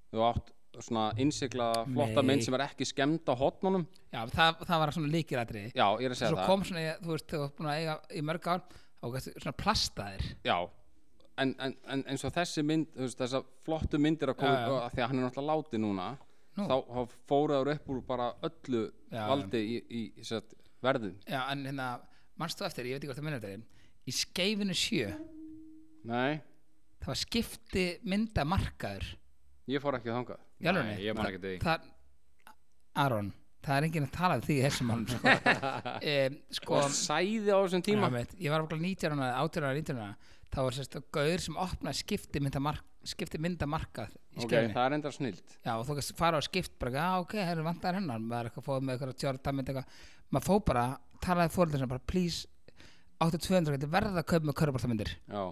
þú átt svona innsiklaða flotta Nei. mynd sem er ekki skemmd á hotnunum það, það var svona líkirætriði. já, ég er að segja Svo það kom svona, þú veist, þú veist, búin að eiga í mörg ár, þá gæstu svona plastaðir. já, en, en, en eins og þessi mynd þú veist, þessa flottu myndir að koma Já, já. af því að hann er náttúrulega láti núna Nú. þá, þá fóruður upp úr bara öllu Já, já. valdi í, í, í sett, verðum já, en hérna, manst þú eftir, ég veit ekki hvort það minnur þetta er í skeifinu sjö, Nei, það var skipti mynda markaður ég fór ekki þangað í alveg Nei, ég man ekki eftir því. það, Aron, það er enginn að tala við því í þessum málum sko, um, sko Og sæði á þessum tíma Já, veit, ég var okkur 19 ára, 18 ára, 19 ára þá var sérst gauður sem opnaði skipti mynda, mark, skipti mynda markað Ok, í skefni það er enda snild já, og þú kannski fara á skipt bara, já, ok, það eru vantar hennar maður er eitthvað fóð með eitthvað tjóra dammynd eitthvað maður fóð bara, talaði fóreldur sem bara please, 8200 getur verða að kaupa með körpartamyndir Já,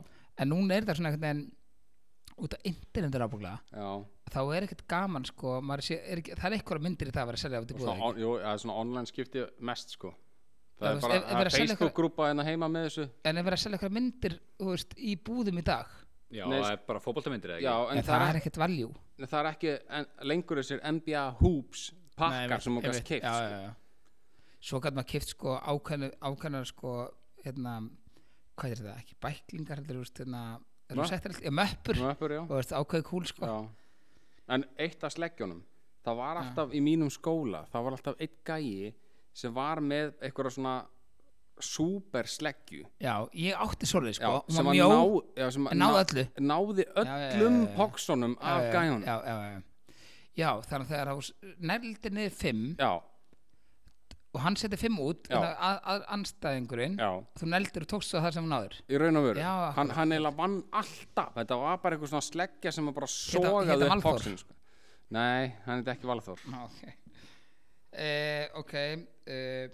en núna er þetta svona einhvern veginn út á internetur ábúklega já þá er ekkert gaman sko maður sé, er ekki, það er eitthvað myndir í það að vera að selja út í Og búða svona, ekki? on, jú, það er svona online skipti mest sko Það Já, þú er veist, bara ef- ef það verið að er selja Facebook-grúpa hérna heima með þessu en ef vera að selja eitthvað myndir þú veist, í búðum í dag Já, Nei, það er bara fótboltamyndir eða Já, ekki en en það er ekkert valjú en það er ekki en, lengur þessir NBA hoops pakkar sem hún gæst keipt já, sko. já, já. svo gæti maður keift sko ákveðna, ákveðna sko hérna, hvað er þetta, ekki bæklingar heldur, þú veist, hérna, er Möpp. það settir alltaf, möppur Nú öppur, já. og þú veist, ákveði kúl sko já En eitt af sleggjónum það var alltaf í mínum skóla það var alltaf eitt gæi sem var með einhverja svona super sleggju já, ég átti svoleið sko, hún sem var að mjó ná, já, sem að en náði ná- öllu. náði já, já, öllum já, já. poxunum af gæjunum já, já, já, já, þannig að þegar hann nældi niður fimm já, og hann seti fimm út Já. að, að, að anstæðingurinn já, þú nældir og tókst svo það sem hann áður í raun og veru Já, akkurat. hann, hann eiginlega vann alltaf þetta var bara einhver svona sleggja sem að bara hét sogaði hann upp Valþór? poxun sko. nei, hann er ekki Valþór Ná, ok eh, ok eh,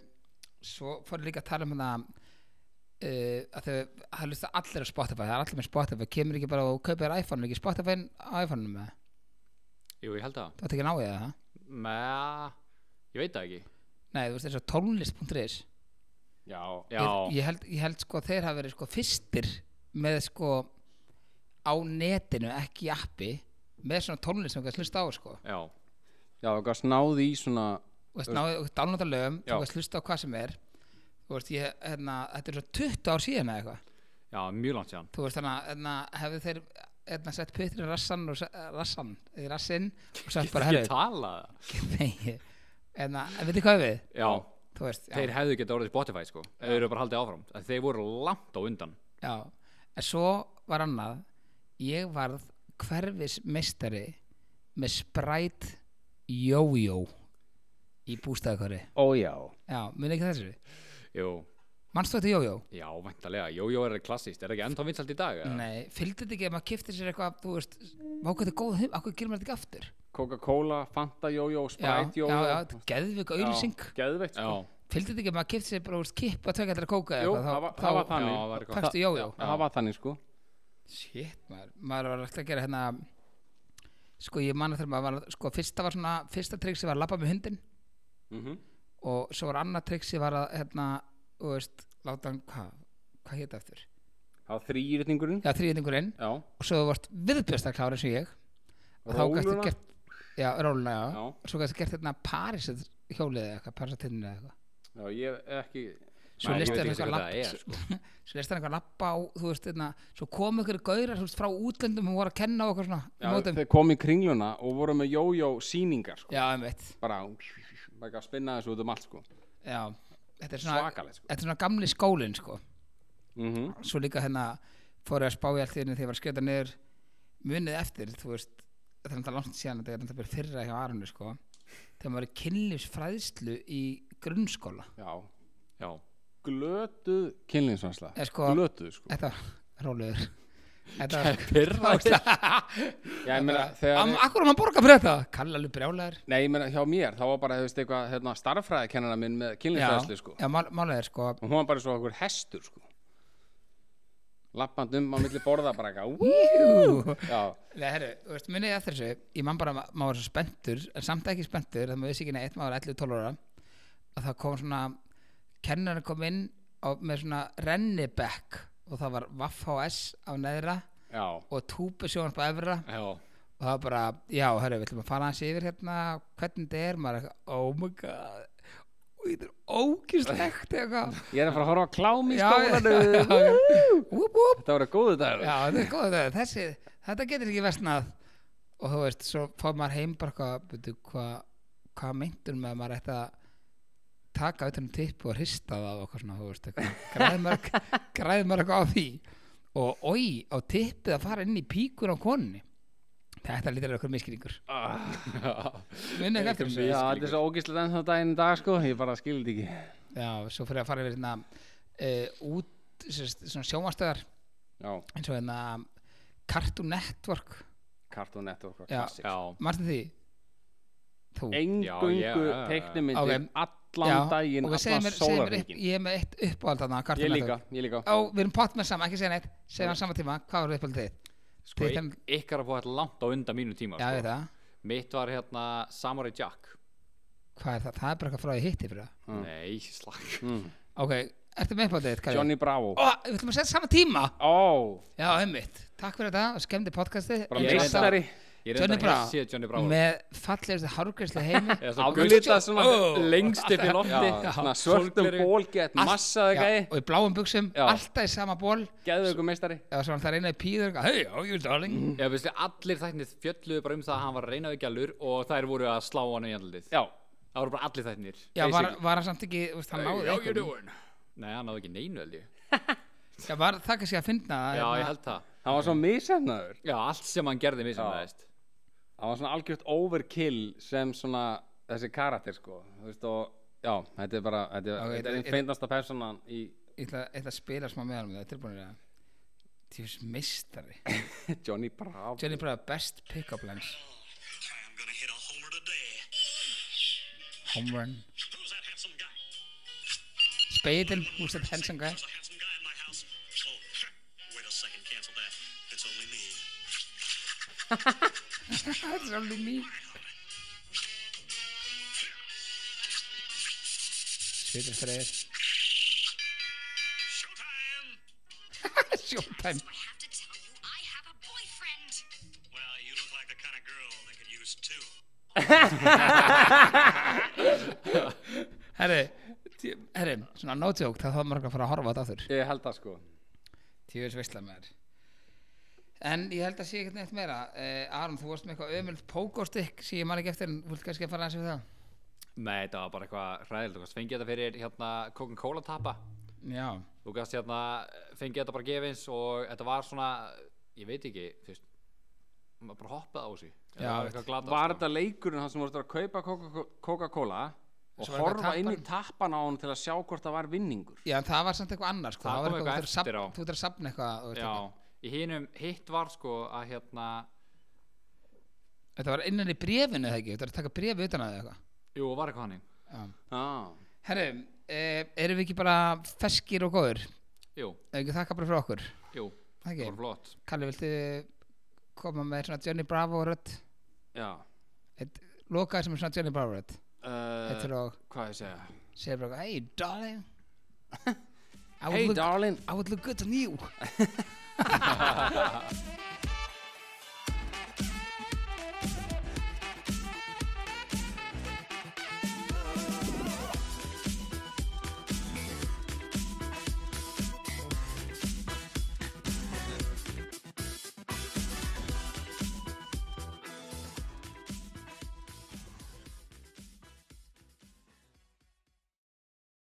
svo fór ég líka að tala um það eh, að þau það lusta allir á Spotify, það er allir með Spotify kemur ekki bara og kaupir iPhone, ekki Spotify á iPhone-num með, Jú, ég held það þú átt ekki að ná ég það Mæ, ég veit það ekki nei, þú veist eins og tónlist.is já, Já, ég, ég, held, ég held sko að þeir hafa verið sko fyrstir með sko á netinu, ekki í appi með svona tónlist sem þú kannast hlusta á sko já, já, það gafst náði í svona og veist, náðu, og dánlóta lögum, Já. þú kannast hlusta á hvað sem er þú veist, ég, hérna, þetta er svo 20 ár síðan eða eitthvað já, mjög langt síðan þú veist þannig að hefðu þeir hefna, sett puttir í rassan og se- eh, rassan, í rassinn og sett bara Ég herru tala það nei, en veitir hvað við Já, þú veist, já, þeir hefðu getað orðið Spotify sko Ef þeir eru bara haldið áfram En Þeir voru langt á undan já en svo var annað ég varð hverfismeistari með spræt jójó í bústæðakari ó já, já, muni ekki þessu Jú, mannstu þetta jójó? já, væntalega Jójó er klassist, er það ekki ennþá vinsalt í dag? eða? nei, fylgdi þetta ekki að maður kifti sér eitthvað þú veist, vákvæði þetta er góð hugmynd, akkur gerir maður þetta ekki aftur Coca-Cola, Fanta jójó, Sprite já, jójó já, já, geðvika auðlýsing geðveikt sko. Já, fylgdi þetta ekki að maður kipti sér bara úr kipp að tökja þetta að kóka Jú, eitthvað, það var- það var þá- þannig. Já, var eitthvað. fannstu jójó það var þannig sko shit maður, maður var alltaf að gera hérna sko ég man að þegar maður var sko fyrsta var svona, fyrsta triksi var að labba með hundin mm Mhm. og svo var annað triksi var að hérna, þú veist, láta hann hvað, hvað hétt aftur það var þrýrýtingurinn já, þrýðningurinn já, og svo þú vart viðbjörnstaklára eins og ég og þá gæstu Róluna? gert já, róluna, já, Já. og svo gæstu gert hérna Paris hjólið eða eitthvað, Paris að eða eitthvað já, ég ekki svo Nei, ég listu veit hann ekki eitthvað hvað lapp það er, sko. svo- svo listu hann eitthvað lappa á þú veist þeirna, svo kom ykkur gaurar þú veist, frá útlöndum og voru að kenna og eitthvað svona í já, mótum. þeir komu í kringluna og voru með jójó síningar sko. já, um einmitt bara bara að spinna þessu út um allt sko. já, þetta er svona, svakalegt sko. þetta er svona gamli skólin sko. mm Mhm. svo líka hérna fór ég að spá í allt þérna þegar ég var að skjöta niður munið eftir þú veist, þetta er náttúrulega langt síðan þetta er náttúrulega bara fyrra hjá Arunu sko. þegar maður er kynlífsfræðslu í grunnskóla já, já, glötuð kynlinsvansla Eh, sko- glötuð sko. þetta var rólegur þetta var Pirrandi. já, ég meina, þegar Am- Akkur er hann að borga fyrir þetta? Kalla alveg brjálæður Nei, ég meina, hjá mér, þá var bara, þú veist, eitthvað, hérna, starffræðikennara minn með kynlinsvæðslu, sko. já mál, málega er sko Og hún var bara svo okkur hestur, sko. Lappand um á milli borða bara eitthvað, "Ú, Jú. já, Nei, herru, þú veist, munið ég eftir þessu Ég man bara, að maður var svo spenntur En samt ekki spenntur, þannig að maður vissi ekki neitt Maður var 11-12 ára Og það kom svona, kennarinn kom inn á, Með svona rennibekk Og það var Vaff HS á neðra já, Og túpi sjónvarp á efra já Og það var bara, já, herru, við ætlum að fara hans yfir hérna Hvernig þetta er, maður er eitthvað Oh my god Og þetta er ógislegt eitthvað ég er að fara að horfa á klám í Já, já, skólanu. já, já. Whoop, whoop. Þetta voru góðu dagur. Já, þetta er góð þetta, þessi, þetta getur ekki versnað og þú veist, svo fór maður heim bara hvað, veitu, hvað hvað meintur með að maður ætti að taka utan um tippu og hrista það og eitthvað svona, þú veist, græðmörg græðmörg á því og oi, á tippið að fara inn í píkur á konni þetta lítur að vera eitthvað miskilningur minni ekki eftir þessu Já, þetta er svo ógíslega enn þá daginn í dag sko, ég bara skildi ekki já, svo fyrir að fara yfir hérna uh, út, sérst, svona sjómastöðar Já, eins og hérna Cartoon Network, Cartoon Network var Já. klassik já, marstu því þú Já, Engungu já, já. teiknimyndir Ok. allan daginn, og við segjum allan mér, segjum mér upp, sólarhingin ég er með eitt uppáhald þarna, Cartoon Ég Network líka, ég líka á, við erum pott með sama, ekki segja neitt segja hann sama tíma, hvað var uppáhaldið þitt? sko, Til þeim- y- ykkar að búið þetta langt á undan mínu tíma já, ég veit sko. það, mitt var hérna Samurai Jack hvað er það? það er bara eitthvað frá því hitti fyrir það Mm. nei, slag Mm. ok, ertu með uppáhaldið þitt, Kari? Johnny Bravo ó, við ætlum að setja saman tíma Ó, já, einmitt, takk fyrir þetta og skemmdi podcastið bara Ég reyndar- meistari ég Johnny reynda að Bravo. hef séð Johnny Bravo með fallegustu hárgreislu heimi eða svo gull Aflitað svona Ó. lengst upp í lofti Já. svona Svörtum Sólgleraugu. bólgett, Allt- massaði Já, gæði og í bláum buksum, Já. alltaf í sama ból Gæðu ykkur meistari eða svo hann það reynaði píður hei, oh, you Mhm. darling Já, veistu, allir þætnir fjöldluðu bara um það að hann var að reyna við gælur og þær voru að slá hann í andlið. Já, Það voru bara allir þætnir. já, var, basically. var hann samt ekki, þú veist, hann náði Hey, how you einhverjum. doing? Nei, hann náði ekki neinu held ég. já, var það kannski að hérna, finna Já, hérna. ég held það. hann var svo misefnaður Já, allt sem hann gerði misum Já. það, veist. hann var svona algjört overkill sem svona þessi karakter sko þú veist og já, þetta er bara þetta er, Ok, þetta er it- einn feindasta personan í ég ætla, ég ætla að spila smá með hann það er tilbúinir að tífus meistari Johnny Bravo Johnny Bravo best pick-up lines I'm gonna hit a homer today. home run Who's that handsome guy? speilin who's that handsome guy There's a handsome guy in my house. Oh, wait a second, cancel that. It's only me. that's only me sveitir freyðir I showtime Showtime! have to tell you, I have a boyfriend. Well, you look like the kind of girl that could use two. herri tí- herri svona no joke það þá marga að fara að horfa á þetta aftur ég held það sko tífus veistla með þér en ég held að sé ekkert neitt meira uh, Aron þú varst með eitthvað ömult pókostikk sem ég man ekki eftir en þú vilt kannski að fara aðeins við það Nei, þetta var bara eitthvað ræðilegt. Þú fengið þetta fyrir hérna Coca-Cola tappa. já Þú gæst hérna, fengið þetta bara gefins og þetta var svona, ég veit ekki, þú veist, maður bara hoppaði á þessu. Þetta Já, var eitthvað glatað, var sko. þetta leikurinn hann sem voru að kaupa Coca- Coca-Cola og Svo var þetta horfa inn í tappan. tappan á hann til að sjá hvort það var vinningur Já, en það var samt eitthvað annars sko. Það var kom eitthvað, eitthvað þú þarf eftir að á. safn- Þú þarf að sapna eitthvað þú veist Já, eitthvað. í hinum hitt var sko að hérna, Þetta var innan í brefinu eða ekki Þú þarf að taka brefi utan að það eitthvað jú, var eitthvað hannig. Já. ah. Herru, eh, erum við ekki bara feskir og góður? Jú, Ef ekki þakka bara fyrir okkur jú, Það það var ekki? flott. Kalli, viltu koma með svona Johnny Bravo rödd? já Eitt- Lokaði sem er svona Johnny Bravo rödd Eh. Þetta er uh, og hvað ég segja segir bara eitthvað, hey Hey darling I would look, darling I would look good on you